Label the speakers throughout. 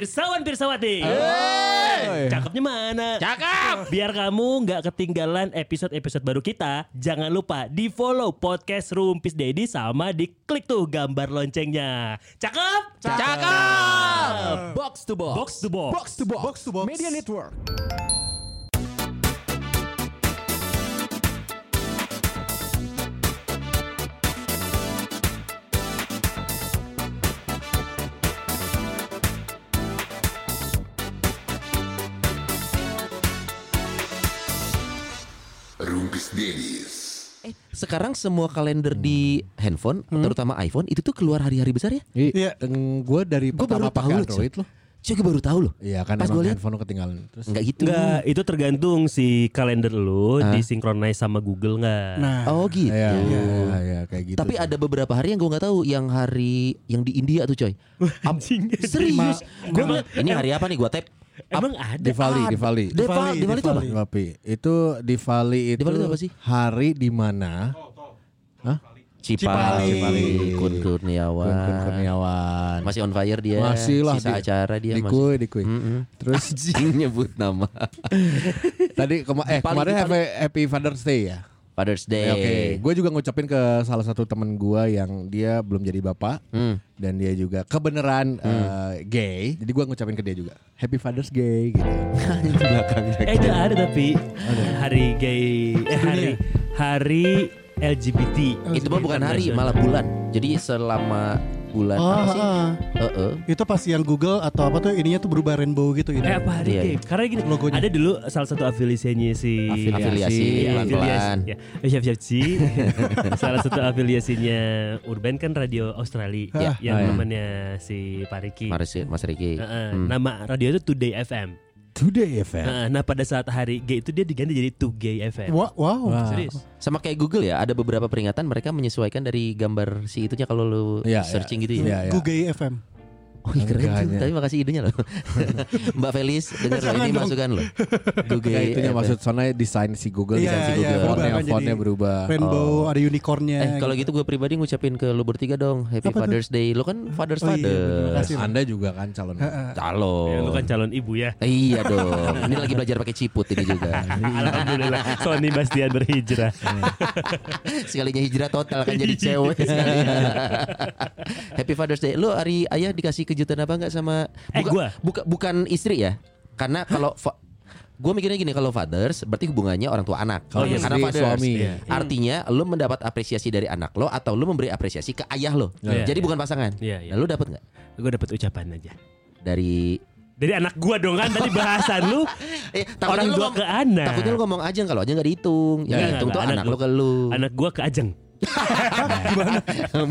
Speaker 1: Pirsawan Pirsawati. Cakepnya mana?
Speaker 2: Cakep.
Speaker 1: Biar kamu nggak ketinggalan episode-episode baru kita, jangan lupa di follow podcast Rumpis Dedi sama diklik tuh gambar loncengnya. Cakep?
Speaker 2: Cakep.
Speaker 3: Box to box.
Speaker 1: Box to box.
Speaker 3: Box to box.
Speaker 4: Box to box.
Speaker 3: Media network.
Speaker 5: Rumpis Dennis.
Speaker 2: Eh, sekarang semua kalender di handphone,
Speaker 4: Hmm.
Speaker 2: terutama iPhone, itu tuh keluar hari-hari besar ya?
Speaker 4: Iya. Gue dari
Speaker 2: Gue
Speaker 4: pertama
Speaker 2: baru tahu
Speaker 4: pakai
Speaker 2: loh.
Speaker 4: Android loh.
Speaker 2: Cuy, gue baru tahu loh.
Speaker 4: Iya kan
Speaker 2: Pas
Speaker 4: emang
Speaker 2: gue lihat
Speaker 4: handphone lo ketinggalan. Terus
Speaker 2: nggak gitu.
Speaker 1: Enggak, itu tergantung si kalender lu disinkronis sama Google nggak.
Speaker 4: Nah.
Speaker 2: Oh gitu.
Speaker 4: Iya, iya, iya, kayak gitu.
Speaker 2: Tapi ada beberapa hari yang gue nggak tahu, yang hari yang di India tuh coy. Am- serius. Gue bilang, ini hari apa nih gue tap?
Speaker 1: Emang ada?
Speaker 4: Diwali, Diwali.
Speaker 2: Diwali, Diwali itu apa?
Speaker 4: Diwali. Itu Diwali itu
Speaker 2: Diwali itu apa sih?
Speaker 4: Hari di mana
Speaker 2: Cipali,
Speaker 4: Cipali.
Speaker 2: Kun Kurniawan.
Speaker 4: Kun Kurniawan
Speaker 2: Masih on fire dia.
Speaker 4: masih lah
Speaker 2: Sisa
Speaker 4: di-
Speaker 2: acara dia masih.
Speaker 4: dikui, dikui. Terus
Speaker 2: Anjing nyebut nama.
Speaker 4: tadi kema- eh
Speaker 2: Diwali,
Speaker 4: kemarin
Speaker 2: Diwali.
Speaker 4: happy, happy Father's Day ya.
Speaker 2: Father's Day.
Speaker 4: Ya, Oke, gue juga ngucapin ke salah satu temen gue yang dia belum jadi bapak
Speaker 2: Hmm.
Speaker 4: dan dia juga kebenaran eh, gay. Jadi gue ngucapin ke dia juga Happy Father's Day gitu.
Speaker 2: Di belakangnya.
Speaker 1: Eh itu ada tapi hari gay eh hari hari LGBT.
Speaker 2: Itu mah bukan hari, malah bulan. Jadi selama bulan
Speaker 6: Oh,
Speaker 2: apa sih? Oh, Heeh.
Speaker 6: Itu pas yang Google atau apa tuh ininya tuh berubah rainbow gitu ini.
Speaker 1: Eh apa hari
Speaker 2: Iya,
Speaker 1: gay? Karena gini
Speaker 6: Logonya.
Speaker 1: ada dulu salah satu afiliasinya si
Speaker 4: Afiliasi.
Speaker 2: Afiliasi
Speaker 1: Iya,
Speaker 2: pelan-pelan.
Speaker 1: afiliasi. Ya, afiliasi. salah satu afiliasinya Urban kan radio Australia ya,
Speaker 2: Iya.
Speaker 1: yang
Speaker 4: Ah, iya.
Speaker 1: namanya si Pariki.
Speaker 2: Mas, Mas Riki.
Speaker 1: Heeh,
Speaker 2: Hmm. Ya.
Speaker 1: Nama radio itu Today FM.
Speaker 4: Today FM.
Speaker 1: Heeh, Nah pada saat hari gay itu dia diganti jadi Today FM.
Speaker 6: Wah, wow.
Speaker 1: Serius?
Speaker 2: Sama kayak Google ya, ada beberapa peringatan mereka menyesuaikan dari gambar si itunya kalau lu
Speaker 4: Iya,
Speaker 2: searching
Speaker 4: iya.
Speaker 2: gitu ya.
Speaker 4: Iya.
Speaker 6: Google FM.
Speaker 2: Oh, iya, keren
Speaker 4: Enggak,
Speaker 2: tuh.
Speaker 4: iya.
Speaker 2: Tapi makasih idenya loh. Mbak Felis, dengar loh
Speaker 6: Jangan
Speaker 2: ini
Speaker 6: dong.
Speaker 2: masukan loh. Google.
Speaker 4: Nah, itunya
Speaker 2: eh,
Speaker 4: maksud soalnya desain si Google,
Speaker 6: Iya,
Speaker 4: desain si Google.
Speaker 6: iya, berubah
Speaker 4: fontnya,
Speaker 6: kan jadi-
Speaker 4: fontnya berubah.
Speaker 6: Rainbow, ada unicornnya.
Speaker 2: Eh kalau gitu gue pribadi ngucapin ke lu bertiga dong Happy
Speaker 6: Apa tuh?
Speaker 2: Father's Day Lo kan Father's
Speaker 6: Oh iya,
Speaker 2: Father
Speaker 6: bener. Kasih, Bang.
Speaker 4: Anda juga kan calon.
Speaker 2: Calo
Speaker 1: Ya, lu kan calon ibu ya.
Speaker 2: Iya dong Ini lagi belajar pakai ciput ini juga
Speaker 1: Alhamdulillah Sony Bastian berhijrah.
Speaker 2: Sekalinya hijrah total kan jadi cewek sekalinya. Happy Father's Day Lo hari ayah dikasih kejutan apa nggak sama
Speaker 1: Eh, gua.
Speaker 2: buka- Bukan istri ya Karena kalau Gue mikirnya gini kalau fathers berarti hubungannya orang tua anak.
Speaker 4: Kalau
Speaker 2: Karena
Speaker 4: istri,
Speaker 2: fathers.
Speaker 4: suami.
Speaker 2: Iya. Artinya lo mendapat apresiasi dari anak lo atau lo memberi apresiasi ke ayah lo.
Speaker 1: Iya,
Speaker 2: Jadi
Speaker 1: iya.
Speaker 2: bukan pasangan.
Speaker 1: Iya, iya.
Speaker 2: Nah, lo dapat nggak
Speaker 1: gue dapat ucapan aja.
Speaker 2: dari
Speaker 1: Dari anak gua dong kan tadi bahasan lu
Speaker 2: Eh,
Speaker 1: orang
Speaker 2: takutnya lu
Speaker 1: tua
Speaker 2: ngom-
Speaker 1: ke anak.
Speaker 2: Takutnya lu ngomong aja kalau aja nggak dihitung. Yang
Speaker 1: Nggak,
Speaker 2: dihitung
Speaker 1: nggak,
Speaker 2: tuh
Speaker 1: nggak.
Speaker 2: anak,
Speaker 1: Anak
Speaker 2: lu ke lu.
Speaker 1: anak gua ke Ajeng.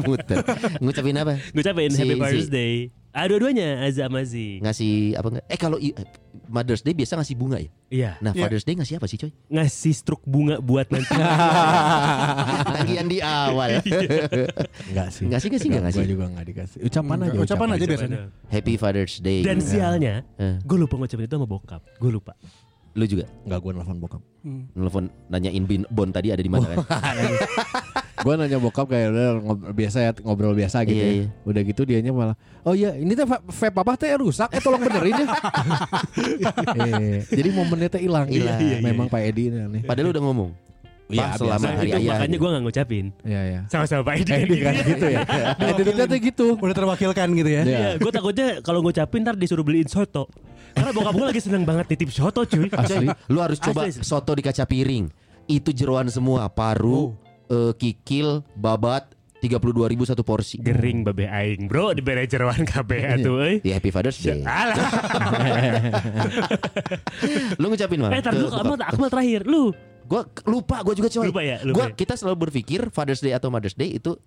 Speaker 2: Muter. Ngucapin apa?
Speaker 1: Gue capain
Speaker 2: Si-
Speaker 1: Happy
Speaker 2: si-
Speaker 1: Father's Day. Ah dua-duanya Azza Mazi.
Speaker 2: Ngasih apa enggak? Eh kalau i- eh, Mother's Day biasa ngasih bunga ya.
Speaker 1: Iya.
Speaker 2: Nah,
Speaker 6: Iya.
Speaker 2: Father's Day ngasih apa sih, coy?
Speaker 1: Ngasih struk bunga buat nanti.
Speaker 2: Tagihan di awal.
Speaker 4: Enggak sih.
Speaker 2: Nggak sih, nggak sih, nggak
Speaker 4: Gue
Speaker 2: sih.
Speaker 4: juga enggak dikasih. Ucapan aja.
Speaker 6: Ucapan aja biasanya.
Speaker 2: Happy Father's Day.
Speaker 1: Dan sialnya,
Speaker 2: Eh.
Speaker 1: gue lupa ngucapin itu sama bokap. Gue lupa.
Speaker 2: lu juga
Speaker 4: Enggak gue nelfon bokap.
Speaker 2: nelfon nanyain bin, Bon tadi ada di mana
Speaker 1: Oh,
Speaker 2: kan?
Speaker 4: gue nanya bokap kayak udah ngobrol biasa ya ngobrol biasa gitu ya.
Speaker 2: Iya, iya.
Speaker 4: udah gitu dianya malah oh iya ini teh va- vape papa teh rusak eh tolong benerin ya Eh, jadi momennya teh hilang
Speaker 2: Hilang.
Speaker 4: Iya, iya, memang pak edi ini aneh
Speaker 2: Padahal lu udah ngomong.
Speaker 4: Iya,
Speaker 2: Pak, selama
Speaker 1: Nah,
Speaker 2: hari
Speaker 1: itu
Speaker 2: ayah.
Speaker 1: makanya gue gak ngucapin.
Speaker 4: Iya ya
Speaker 1: Sama-sama Pak Edi.
Speaker 4: edi kan gitu ya attitude-nya teh gitu
Speaker 6: Udah terwakilkan gitu ya.
Speaker 4: Iya.
Speaker 1: Iya, gue takutnya kalau ngucapin ntar disuruh beliin soto. Karena bokap gue lagi seneng banget nitip soto cuy.
Speaker 2: Coy, lu harus coba
Speaker 1: Asli.
Speaker 2: soto di kaca piring. Itu jeroan
Speaker 1: Oh.
Speaker 2: semua, paru, eh, kikil, babat, 32.000 satu porsi.
Speaker 1: Gering babe aing bro di bere jeroan kabeh atuh euy.
Speaker 2: Di Iya, Happy Father's
Speaker 1: eh.
Speaker 2: Day.
Speaker 1: Alah.
Speaker 2: Lu ngucapin mana?
Speaker 1: Eh tar dulu Akmal, Akmal terakhir lu.
Speaker 2: Gue lupa, gue juga coy.
Speaker 1: Lupa ya, lupa
Speaker 2: Gua,
Speaker 1: ya.
Speaker 2: kita selalu berpikir Father's Day atau Mother's Day itu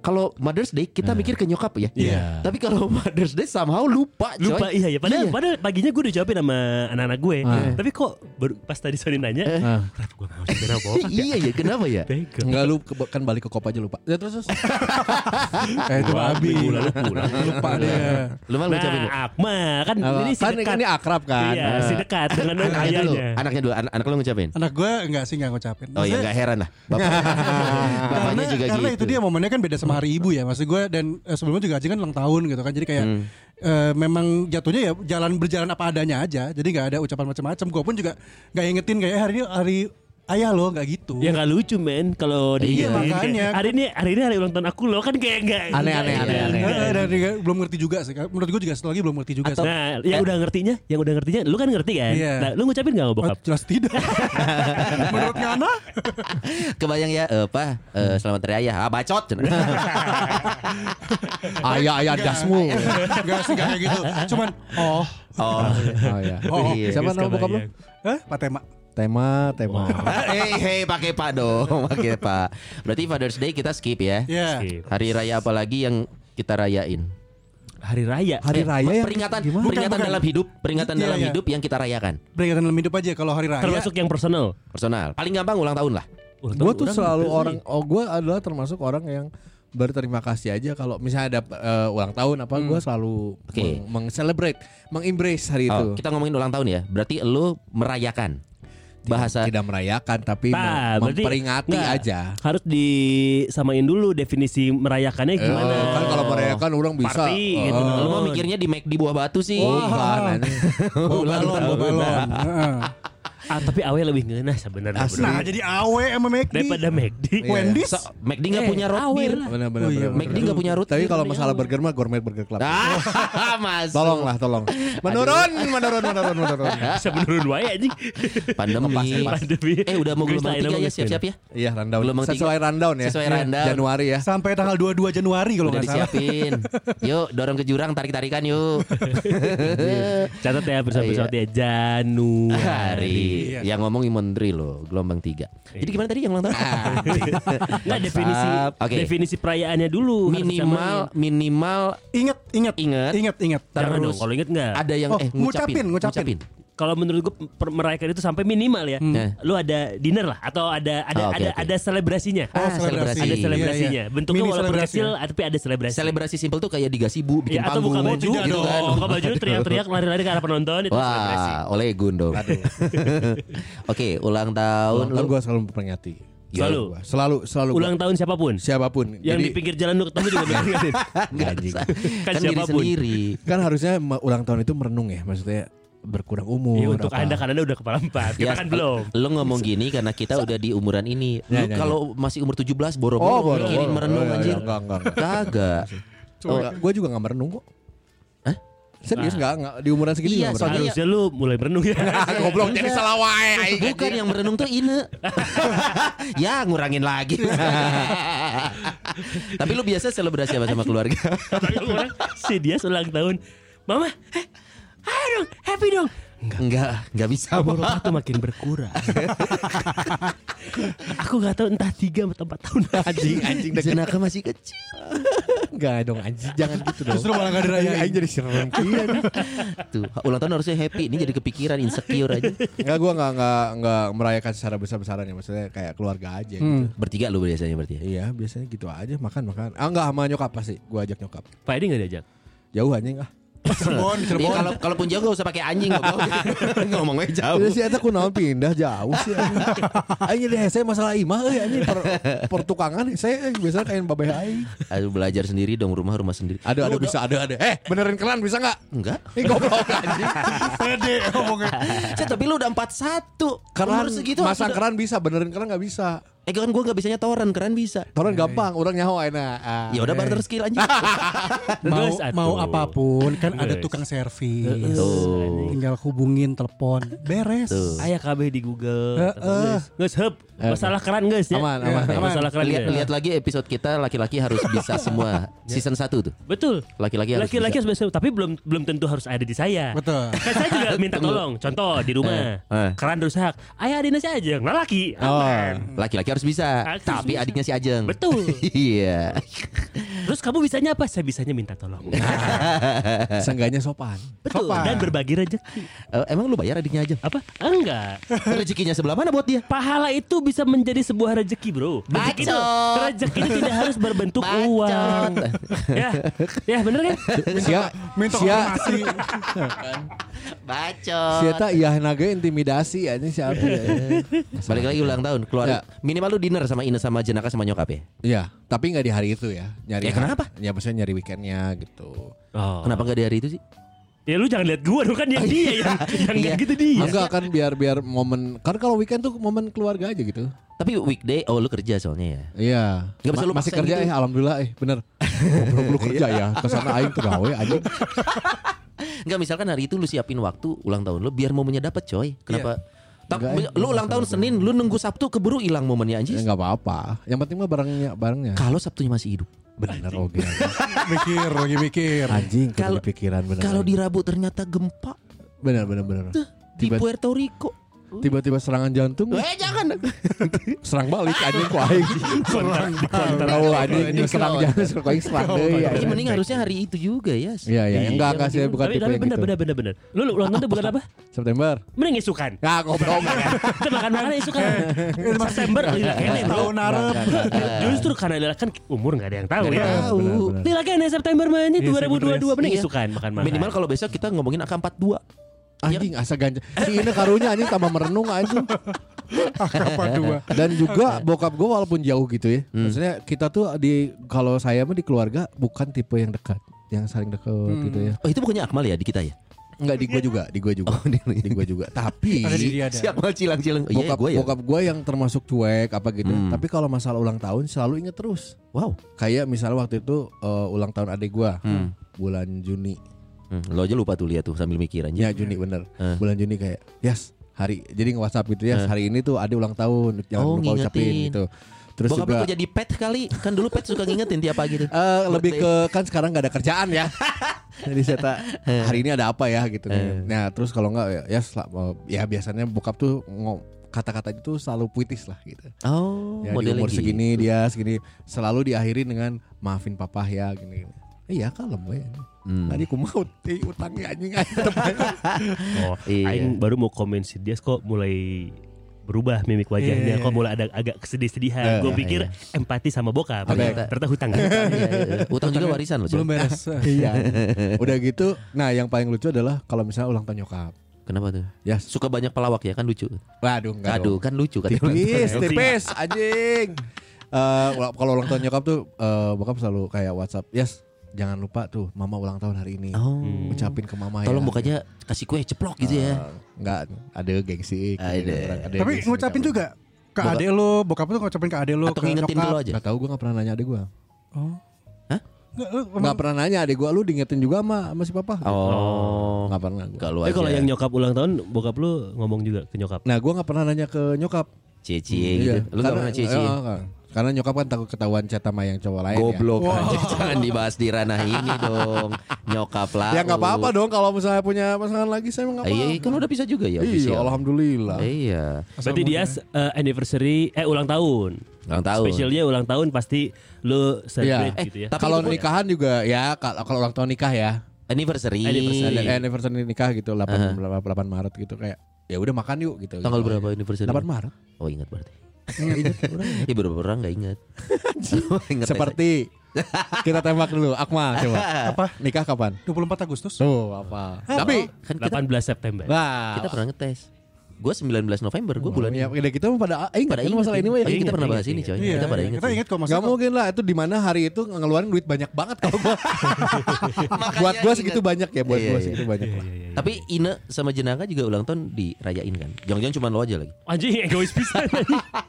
Speaker 2: kalau Mother's Day kita
Speaker 1: Hmm.
Speaker 2: mikir ke nyokap ya.
Speaker 4: Iya.
Speaker 2: Tapi kalau Mother's Day somehow lupa coy.
Speaker 1: Lupa iya ya padahal padahal paginya gue udah jawabin sama anak-anak gue. Iya.
Speaker 4: Ah.
Speaker 1: Tapi kok baru, pas tadi Sony nanya,
Speaker 4: Ah.
Speaker 1: "Rat, gue enggak usah kenapa?"
Speaker 2: iya ya, kenapa ya?
Speaker 1: Tega.
Speaker 4: Enggak lu ke- kan balik ke kop aja lupa ya terus terus
Speaker 6: Eh, itu
Speaker 1: Wah,
Speaker 6: Abi.
Speaker 1: minggu lalu pulang.
Speaker 6: Lupa dia.
Speaker 2: Lu malah ngucapin.
Speaker 1: Nah, Akmal kan ini si
Speaker 4: kan
Speaker 1: dekat.
Speaker 4: ini akrab kan
Speaker 1: Iya, si dekat dengan
Speaker 2: Anaknya dulu,
Speaker 1: ayahnya.
Speaker 2: anaknya dulu, anak, anak lu ngucapin.
Speaker 6: Anak gue enggak sih enggak ngucapin.
Speaker 2: Oh ya
Speaker 6: Maksudnya,
Speaker 2: nggak heran lah. Bapak, bapaknya
Speaker 6: karena,
Speaker 2: juga
Speaker 6: karena
Speaker 2: gitu. Hmm.
Speaker 6: itu dia momennya kan beda sama hari ibu ya maksud gue dan eh, sebelumnya juga Ajeng kan ulang tahun gitu kan jadi kayak eh, memang jatuhnya ya jalan berjalan apa adanya aja. Jadi nggak ada ucapan macam-macam. Gue pun juga nggak ingetin kayak "Eh, hari ini hari ayah lo nggak gitu.
Speaker 1: Ya nggak lucu men kalau
Speaker 6: Iya,
Speaker 1: diingetin kayak,
Speaker 6: makanya.
Speaker 1: Hari ini hari ini hari ulang tahun aku loh kan kayak nggak
Speaker 2: Aneh,
Speaker 1: nggak-
Speaker 2: aneh, aneh,
Speaker 1: nggak-
Speaker 2: aneh.
Speaker 6: Nggak,
Speaker 1: nggak-
Speaker 6: dan nggak- belum ngerti juga sih. Menurut gue juga sekali lagi belum ngerti juga. sih.
Speaker 1: Nah, yang udah ngertinya, yang udah ngertinya, lu kan ngerti kan?
Speaker 6: Iya.
Speaker 1: Nah, lu ngucapin gak sama
Speaker 6: Oh,
Speaker 1: bokap?
Speaker 6: jelas tidak. Menurut Ngana,
Speaker 2: Kebayang ya, eh, Pak, eh, selamat hari ayah. Ah, bacot.
Speaker 4: Ayah ayah dasmu.
Speaker 6: nggak sih nggak kayak gitu. Cuman, oh,
Speaker 2: oh.
Speaker 4: Oh ya.
Speaker 6: Oh,
Speaker 2: Iya.
Speaker 4: Siapa nama bokap lu?
Speaker 1: Kebayang.
Speaker 6: eh, Patema.
Speaker 4: Tema tema.
Speaker 2: Hei, hei, pakai Pak dong, pakai Pak. Berarti Father's Day kita skip ya.
Speaker 6: Ya.
Speaker 1: Skip.
Speaker 2: Hari raya apalagi yang kita rayain? Eh,
Speaker 1: Hari raya.
Speaker 4: Hari raya yang
Speaker 2: peringatan,
Speaker 4: gimana?
Speaker 2: peringatan
Speaker 6: Bukan, bukan.
Speaker 2: dalam hidup, peringatan
Speaker 6: Iya,
Speaker 2: dalam
Speaker 6: iya.
Speaker 2: hidup yang kita rayakan.
Speaker 6: Peringatan dalam hidup aja ya, kalau hari raya.
Speaker 1: Termasuk yang personal.
Speaker 2: Personal. Paling gampang ulang tahun lah.
Speaker 1: Ulang
Speaker 4: Gue
Speaker 1: tahun
Speaker 4: tuh
Speaker 1: orang
Speaker 4: selalu
Speaker 1: gitu.
Speaker 4: orang, oh gue adalah termasuk orang yang berterima kasih aja kalau misalnya ada eh, ulang tahun apa gue selalu
Speaker 2: Hmm. Oke.
Speaker 4: meng, celebrate mengembrace hari
Speaker 2: Oh,
Speaker 4: itu.
Speaker 2: kita ngomongin ulang tahun ya. Berarti lu merayakan. Bahasa
Speaker 4: Tidak merayakan tapi
Speaker 1: Nah,
Speaker 4: mem-
Speaker 1: berarti-
Speaker 4: Iya, memperingati
Speaker 1: nggak.
Speaker 4: aja.
Speaker 1: harus disamain dulu definisi merayakannya gimana.
Speaker 4: Eh, kan kalau merayakan orang bisa.
Speaker 1: Party gitu.
Speaker 2: Lu
Speaker 1: dong.
Speaker 2: mah mikirnya di make di buah batu sih.
Speaker 4: Oh, bukan, Oh, aneh.
Speaker 6: bawa balon, bawa balon. Heeh.
Speaker 1: Ah, tapi awe lebih ngena sebenarnya. bro.
Speaker 4: Asli.
Speaker 6: Nah, jadi awe sama McD.
Speaker 1: Daripada McD.
Speaker 4: Iya.
Speaker 6: Wendy's.
Speaker 2: So, McD nggak
Speaker 1: Eh,
Speaker 2: punya root
Speaker 1: awe
Speaker 2: beer.
Speaker 1: lah.
Speaker 4: Benar-benar.
Speaker 6: Oh iya,
Speaker 4: benar-benar.
Speaker 2: McD nggak punya root
Speaker 4: Tapi
Speaker 2: beer.
Speaker 4: kalau masalah burger mah gourmet burger club.
Speaker 2: Ah, masuk.
Speaker 4: Tolonglah, tolong. Menurun, menurun, menurun, menurun.
Speaker 1: Bisa menurun wae anjing.
Speaker 2: Pandemi.
Speaker 4: Lepas, lepas.
Speaker 1: Pandemi.
Speaker 2: Eh udah mau
Speaker 1: Geus
Speaker 2: gelombang
Speaker 1: lain
Speaker 2: tiga
Speaker 1: sama
Speaker 2: ya
Speaker 1: geus
Speaker 2: siap-siap ya.
Speaker 4: Iya, rundown.
Speaker 2: Gelombang tiga.
Speaker 4: Sesuai rundown ya.
Speaker 2: Sesuai
Speaker 4: Iya,
Speaker 2: rundown.
Speaker 4: Januari ya.
Speaker 6: Sampai tanggal 22 Januari kalau
Speaker 2: Udah
Speaker 6: nggak salah.
Speaker 2: disiapin. Yuk dorong ke jurang tarik-tarikan yuk.
Speaker 1: Catat ya
Speaker 2: Iya.
Speaker 1: bersama-sama ya Januari.
Speaker 2: Hari yang ngomong Imondri loh gelombang tiga. Jadi gimana tadi yang ulang tahun?
Speaker 1: Nah definisi
Speaker 2: Oke.
Speaker 1: definisi perayaannya dulu harus
Speaker 2: Minimal
Speaker 1: disamain.
Speaker 2: minimal
Speaker 6: Ingat, ingat,
Speaker 2: Ingat.
Speaker 6: ingat, ingat.
Speaker 1: Jangan dong kalau inget nggak
Speaker 2: ada yang
Speaker 6: Oh,
Speaker 2: eh ngucapin
Speaker 6: ngucapin, ngucapin.
Speaker 1: Kalau menurut gue per- merayakan itu sampai minimal ya
Speaker 2: Hmm.
Speaker 1: Lu ada dinner lah Atau ada ada
Speaker 2: Oh, oke,
Speaker 1: ada,
Speaker 2: oke.
Speaker 1: ada selebrasinya
Speaker 2: Ah, selebrasi.
Speaker 1: Ada
Speaker 2: Iya,
Speaker 1: selebrasinya
Speaker 6: Oh, Iya, iya.
Speaker 1: Bentuknya
Speaker 6: Mini
Speaker 1: walaupun
Speaker 6: selebrasi,
Speaker 1: kecil
Speaker 6: ya.
Speaker 1: Tapi ada selebrasi
Speaker 2: Selebrasi simpel tuh kayak digasibu bikin
Speaker 1: Ya, atau
Speaker 2: panggung
Speaker 1: buka baju
Speaker 2: gitu
Speaker 1: gitu kan. Buka baju teriak-teriak lari-lari ke arah penonton itu selebrasi.
Speaker 2: Wah, oleh Gundo. Oke, ulang
Speaker 4: Ulang
Speaker 2: tahun
Speaker 4: tahun
Speaker 2: lu.
Speaker 4: gue selalu memperingati. Gitu
Speaker 1: Selalu?
Speaker 4: Gua. Selalu, selalu. gua.
Speaker 1: Ulang tahun siapapun.
Speaker 4: Siapapun.
Speaker 1: Yang
Speaker 4: Jadi,
Speaker 1: di pinggir jalan lu ketemu juga
Speaker 2: Iya,
Speaker 1: diingetin.
Speaker 2: Nggak bisa.
Speaker 1: Kan
Speaker 2: Kan diri
Speaker 1: siapapun.
Speaker 2: sendiri.
Speaker 4: kan harusnya ma- ulang tahun itu merenung ya, maksudnya berkurang umur.
Speaker 1: Ya untuk
Speaker 4: apa.
Speaker 1: Anda karena Anda udah kepala empat.
Speaker 2: Iya,
Speaker 1: Kita kan belum.
Speaker 2: Ya, Lo ngomong gini karena kita udah di umuran ini. Lu
Speaker 4: Ya, ya, ya.
Speaker 2: kalau masih umur 17
Speaker 4: Oh,
Speaker 2: boro-boro
Speaker 4: baru
Speaker 2: mikirin merenung anjir.
Speaker 4: Enggak, enggak, enggak.
Speaker 2: Kagak. Oh,
Speaker 4: Gue juga gak merenung kok.
Speaker 2: Hah?
Speaker 4: Serius
Speaker 1: Nah.
Speaker 4: nggak nggak di umuran segini
Speaker 2: Iya,
Speaker 4: nggak merenung.
Speaker 2: soalnya-
Speaker 1: Harusnya lu mulai berenung ya.
Speaker 4: Ah, goblok jadi salah wae.
Speaker 2: Iya. Bukan yang merenung tuh Ine. ya ngurangin lagi. Tapi lu biasa selebrasi apa sama keluarga?
Speaker 1: Orang- orang, si Dias ulang tahun. Mama, eh, ayo dong, happy dong.
Speaker 2: Enggak, enggak bisa.
Speaker 1: Umur papa tuh makin berkurang. Aku gak tahu entah tiga atau empat tahun lagi.
Speaker 2: Anjing jenaka masih kecil.
Speaker 4: Enggak dong anjing jangan gitu dong.
Speaker 6: Justru malah nggak dirayain.
Speaker 4: Anjing jadi serem. Iya.
Speaker 2: Tuh, ulang tahun harusnya happy. Ini jadi kepikiran insecure aja.
Speaker 4: Enggak gue enggak enggak enggak merayakan secara besar-besaran ya maksudnya kayak
Speaker 1: Hmm.
Speaker 4: keluarga aja gitu.
Speaker 2: Hmm, Bertiga lu biasanya berarti. ya?
Speaker 4: Iya, biasanya gitu aja makan-makan. Ah enggak sama nyokap pasti. Gua ajak nyokap.
Speaker 1: Pak Edi gak diajak?
Speaker 4: Jauh anjing ah.
Speaker 6: Cirebon,
Speaker 2: Ya,
Speaker 6: Cirebon.
Speaker 2: kalau kalaupun jauh gak usah pakai anjing goblok. Ngomongnya jauh.
Speaker 4: Jadi si Eta kunaon pindah jauh sih anjing. Anjing deh saya masalah imah euy anjing per, pertukangan saya biasanya kain babeh aing.
Speaker 2: Aduh belajar sendiri dong rumah-rumah sendiri.
Speaker 4: Aduh aduh bisa aduh aduh. Eh benerin keran bisa enggak?
Speaker 2: Enggak.
Speaker 4: Ini goblok anjing.
Speaker 6: Pede ngomongnya.
Speaker 2: Saya tapi lu udah 41.
Speaker 4: Keran
Speaker 2: Umur segitu harus
Speaker 4: masang
Speaker 2: udah-
Speaker 4: keran bisa benerin keran enggak bisa.
Speaker 2: Eh kan gua gak bisanya toren, keren bisa.
Speaker 4: Orang gampang, orang nyaho aina. Ah.
Speaker 2: Ya udah barter skill anjing.
Speaker 6: Mau,
Speaker 1: Terus, atuh.
Speaker 6: mau apapun kan ada
Speaker 1: Terus.
Speaker 6: tukang servis.
Speaker 2: Tuh.
Speaker 6: Tinggal hubungin telepon, beres.
Speaker 1: Ayah KB di Google.
Speaker 6: Heeh.
Speaker 1: Guys, hub. Masalah keren guys ya.
Speaker 4: Aman,
Speaker 1: Ya,
Speaker 4: aman, aman.
Speaker 1: Masalah keren
Speaker 2: Lihat
Speaker 1: guys.
Speaker 2: lihat lagi episode kita laki-laki harus bisa semua. Season 1 tuh.
Speaker 1: Betul.
Speaker 2: Laki-laki harus
Speaker 1: Laki-laki
Speaker 2: bisa.
Speaker 1: harus bisa, tapi belum belum tentu harus ada di saya.
Speaker 6: Betul.
Speaker 1: Kan saya juga minta tolong. Contoh di rumah,
Speaker 2: Eh, eh.
Speaker 1: keran rusak. Ayah adiknya saya aja, nggak laki. Aman.
Speaker 4: Oh.
Speaker 2: Laki-laki harus bisa,
Speaker 1: Harus
Speaker 2: tapi
Speaker 1: bisa.
Speaker 2: adiknya si Ajeng.
Speaker 1: Betul.
Speaker 2: Iya.
Speaker 1: Terus kamu bisanya apa? Saya bisanya minta tolong.
Speaker 4: Seenggaknya sopan.
Speaker 1: Betul.
Speaker 6: Sopan.
Speaker 1: Dan berbagi rezeki.
Speaker 2: Eh, emang lu bayar adiknya Ajeng?
Speaker 1: Apa? Enggak.
Speaker 2: Rezekinya sebelah mana buat dia?
Speaker 1: Pahala itu bisa menjadi sebuah rezeki, Bro. Rezeki itu,
Speaker 2: Bacot.
Speaker 1: rezeki itu tidak harus berbentuk
Speaker 2: Bacot.
Speaker 1: uang. Ya. Ya, bener kan?
Speaker 4: Sia,
Speaker 6: Minta
Speaker 4: sia,
Speaker 6: konfirmasi.
Speaker 2: Bacot.
Speaker 4: Siapa iya naga intimidasi aja siapa?
Speaker 2: Balik lagi ulang tahun keluar.
Speaker 4: Ya.
Speaker 2: Minimal lu dinner sama Ines sama Jenaka sama nyokap ya.
Speaker 4: Iya, tapi nggak di hari itu ya. Nyari
Speaker 2: Ya, kenapa?
Speaker 4: Ya maksudnya nyari weekendnya gitu.
Speaker 1: Oh.
Speaker 2: Kenapa nggak di hari itu sih?
Speaker 1: Ya lu jangan lihat gua dong kan yang dia yang yang nggak
Speaker 2: Iya.
Speaker 1: gitu dia.
Speaker 4: Enggak kan biar biar momen kan kalau weekend tuh momen keluarga aja gitu.
Speaker 2: Tapi weekday oh lu kerja soalnya ya.
Speaker 4: Iya.
Speaker 2: Nggak bisa lu
Speaker 4: masih
Speaker 2: paksain
Speaker 4: kerja
Speaker 2: gitu. Iya.
Speaker 4: eh alhamdulillah eh bener. Belum kerja ya. Kesana aing tuh gawe anjing.
Speaker 2: Enggak misalkan hari itu lu siapin waktu ulang tahun lu biar momennya dapet coy. Kenapa?
Speaker 4: Iya.
Speaker 2: Tak-
Speaker 4: Nggak,
Speaker 2: lu ulang tahun Senin, lu nunggu Sabtu keburu hilang momennya
Speaker 4: Ya
Speaker 2: anjing.
Speaker 4: enggak apa-apa. Yang penting mah barangnya barangnya.
Speaker 2: Kalau Sabtunya masih hidup.
Speaker 4: Bener oke.
Speaker 6: mikir lagi mikir
Speaker 4: Anjing kalau
Speaker 2: Kalau-
Speaker 4: pikiran bener.
Speaker 2: Kalau di Rabu ternyata gempa
Speaker 4: bener bener bener.
Speaker 2: tuh, di
Speaker 4: Tiba-
Speaker 2: Puerto Rico.
Speaker 4: Tiba-tiba serangan jantung,
Speaker 2: Eh jangan.
Speaker 4: serang balik anjing ku aing.
Speaker 1: Serang
Speaker 4: Tahu anjing serang jantung serang aing serang deui.
Speaker 2: Ini
Speaker 4: anjing.
Speaker 2: Iya, mending harusnya hari itu juga ya.
Speaker 4: Iya iya, enggak enggak sih bukan
Speaker 1: tapi,
Speaker 4: tipe
Speaker 1: tapi
Speaker 4: yang
Speaker 1: bener,
Speaker 4: gitu.
Speaker 1: bener bener bener Lu lu ulang tahun tuh bukan apa?
Speaker 4: September.
Speaker 1: Mending isukan.
Speaker 4: Ya goblok.
Speaker 1: Kita makan makan isukan.
Speaker 2: Eh,
Speaker 1: September lila kene bro.
Speaker 6: tahun arep
Speaker 2: eh.
Speaker 1: Justru karena lila kan umur nggak ada yang tahu
Speaker 2: Iya.
Speaker 1: ya.
Speaker 4: Nggak
Speaker 2: Tahu.
Speaker 4: benar, benar.
Speaker 1: Lila kene September mana
Speaker 6: Iya,
Speaker 1: 2022 mending
Speaker 2: Iya.
Speaker 1: isukan makan makan.
Speaker 2: Minimal kalau besok kita ngomongin angka 42.
Speaker 4: Anjing asa ganja. Si ini karunya anjing tambah merenung anjing.
Speaker 6: apa dua
Speaker 4: Dan juga bokap gue walaupun jauh gitu ya. Maksudnya kita tuh di kalau saya mah di keluarga bukan tipe yang dekat, yang saling dekat gitu ya.
Speaker 2: Oh itu bukannya Akmal ya di kita ya?
Speaker 4: Enggak di gue juga, di gue juga.
Speaker 2: Oh, di-
Speaker 4: di gue juga. Tapi
Speaker 6: ada di dia ada
Speaker 2: Si Akmal cilang-cilang. Oh, iya
Speaker 4: bokap
Speaker 2: gue ya.
Speaker 4: bokap gue yang termasuk cuek apa gitu. Tapi kalau masalah ulang tahun selalu inget terus.
Speaker 2: Wow.
Speaker 4: Kayak misalnya waktu itu eh, ulang tahun adik gue bulan Juni.
Speaker 2: Hmm, lo aja lupa tuh lihat tuh sambil mikir aja.
Speaker 4: Ya Juni bener
Speaker 2: Eh.
Speaker 4: Bulan Juni kayak Yes hari Jadi nge-whatsapp gitu ya Hari ini tuh ada ulang tahun Jangan
Speaker 2: Oh,
Speaker 4: lupa ucapin
Speaker 2: ngingetin.
Speaker 4: gitu Terus
Speaker 2: Bokap
Speaker 4: juga
Speaker 2: lu jadi pet kali Kan dulu pet suka ngingetin tiap pagi tuh
Speaker 4: eh, Lebih ke Kan sekarang gak ada kerjaan ya Jadi saya tak
Speaker 2: Eh.
Speaker 4: Hari ini ada apa ya gitu Nah terus kalau nggak ya, ya, sel- eh, ya biasanya bokap tuh ngom kata-kata itu selalu puitis lah gitu.
Speaker 2: Oh
Speaker 4: Ya, di
Speaker 2: model
Speaker 4: umur
Speaker 2: lagi
Speaker 4: segini dia segini selalu diakhiri dengan maafin papa ya gini. gini. Iya kalem we.
Speaker 2: Hmm.
Speaker 4: Tadi ku mau ti utangnya anjing aja.
Speaker 1: Oh,
Speaker 2: Iya.
Speaker 1: Aing baru mau komen si dia kok mulai berubah mimik
Speaker 2: Iya,
Speaker 1: wajahnya kok mulai ada agak kesedih-sedihan. Gue pikir empati sama bokap.
Speaker 4: Ternyata-
Speaker 1: Ternyata hutang.
Speaker 2: Iya, iya. Utang juga warisan loh
Speaker 6: belum beres
Speaker 4: iya. Udah gitu, nah yang paling lucu adalah kalau misalnya ulang tahun nyokap.
Speaker 2: Kenapa tuh
Speaker 4: Ya, su-
Speaker 2: Suka banyak pelawak ya kan lucu
Speaker 4: waduh enggak
Speaker 2: Aduh
Speaker 4: dong.
Speaker 2: kan lucu kan
Speaker 4: Tipis,
Speaker 1: Nanti.
Speaker 4: tipis anjing. Eh, ula- kalau ulang tahun nyokap tuh eh bokap selalu kayak WhatsApp, "Yes, jangan lupa tuh mama ulang tahun hari ini."
Speaker 2: Oh iya.
Speaker 4: Ucapin ke mama
Speaker 2: Tolong
Speaker 4: ya.
Speaker 2: mukanya kasih kue ceplok gitu
Speaker 4: Eh,
Speaker 2: ya
Speaker 4: Enggak, ada gengsi.
Speaker 2: Ada.
Speaker 6: tapi ngucapin juga ke
Speaker 4: Bokap-
Speaker 6: adek lo bokap lo ngucapin ke adek lo
Speaker 2: Atau
Speaker 6: ke
Speaker 2: ngingetin
Speaker 6: nyokap.
Speaker 2: dulu aja
Speaker 4: Enggak tahu gue enggak pernah nanya adik gue.
Speaker 6: oh
Speaker 2: Hah?
Speaker 6: Nggak, lu emang-
Speaker 4: Enggak pernah nanya adik gue, lu diingetin juga sama sama si papa.
Speaker 2: Oh
Speaker 4: Enggak pernah gua.
Speaker 2: Kalau
Speaker 1: Eh
Speaker 2: aja
Speaker 1: kalau yang nyokap ulang tahun bokap lu ngomong juga ke nyokap.
Speaker 4: Nah, gue nggak pernah nanya ke nyokap.
Speaker 2: Cie-cie gitu
Speaker 4: Iya.
Speaker 2: Lu gak pernah cie-cie
Speaker 4: iya, nggak. Karena nyokap kan takut ketahuan chat sama yang cowok lain ya.
Speaker 2: Goblok aja Jangan dibahas di ranah ini dong Nyokap lah
Speaker 4: ya. Ya nggak apa-apa dong kalau misalnya punya pasangan lagi saya mah nggak
Speaker 2: Iya
Speaker 4: apa-apa.
Speaker 2: kan udah bisa juga
Speaker 4: Iya,
Speaker 2: ya official.
Speaker 4: alhamdulillah.
Speaker 2: Iya
Speaker 1: Berarti dia eh, anniversary eh ulang tahun.
Speaker 2: Ulang tahun Eh,
Speaker 1: Spesialnya ulang tahun pasti lu celebrate
Speaker 4: Iya.
Speaker 1: gitu ya.
Speaker 2: Tapi
Speaker 4: Kalau
Speaker 2: itu-
Speaker 4: nikahan juga ya kalau kalau ulang tahun nikah ya.
Speaker 2: Anniversary.
Speaker 1: Anniversary.
Speaker 4: Ada anniversary nikah gitu 8 8 Maret gitu kayak ya udah makan yuk gitu.
Speaker 2: Eh, Tanggal berapa anniversary?
Speaker 4: 8 Maret.
Speaker 2: Oh ingat berarti. Iya beberapa orang nggak ingat. Ingat aja.
Speaker 4: Seperti kita tembak dulu Akmal coba.
Speaker 6: Apa?
Speaker 4: Nikah kapan?
Speaker 6: 24 Agustus
Speaker 4: Tuh, apa? Tapi
Speaker 2: kan kita,
Speaker 1: 18 September.
Speaker 4: nah,
Speaker 2: kita pernah ngetes. Gue 19 November, gue bulan
Speaker 4: ya udah kita mah pada ingat
Speaker 2: Pada
Speaker 4: kan
Speaker 2: ingat
Speaker 4: masalah ini mah ya.
Speaker 2: Tapi kita
Speaker 1: Ingat,
Speaker 2: pernah
Speaker 1: ingat,
Speaker 2: bahas ini
Speaker 1: ingat.
Speaker 2: coy.
Speaker 6: Iya,
Speaker 2: Kita pada ingat.
Speaker 6: kita
Speaker 2: sih.
Speaker 6: ingat kok
Speaker 4: Gak
Speaker 6: maksudnya kok.
Speaker 4: mungkin lah itu di mana hari itu ngeluarin duit banyak banget kalau gua.
Speaker 2: Makanya
Speaker 4: buat gua
Speaker 2: ingat.
Speaker 4: segitu banyak ya, buat
Speaker 2: Iya,
Speaker 4: gua
Speaker 2: iya.
Speaker 4: segitu banyak. lah.
Speaker 2: Tapi Ine sama Jenaka juga ulang tahun dirayain kan. Jangan-jangan cuma lo aja lagi.
Speaker 1: Anjing egois pisan.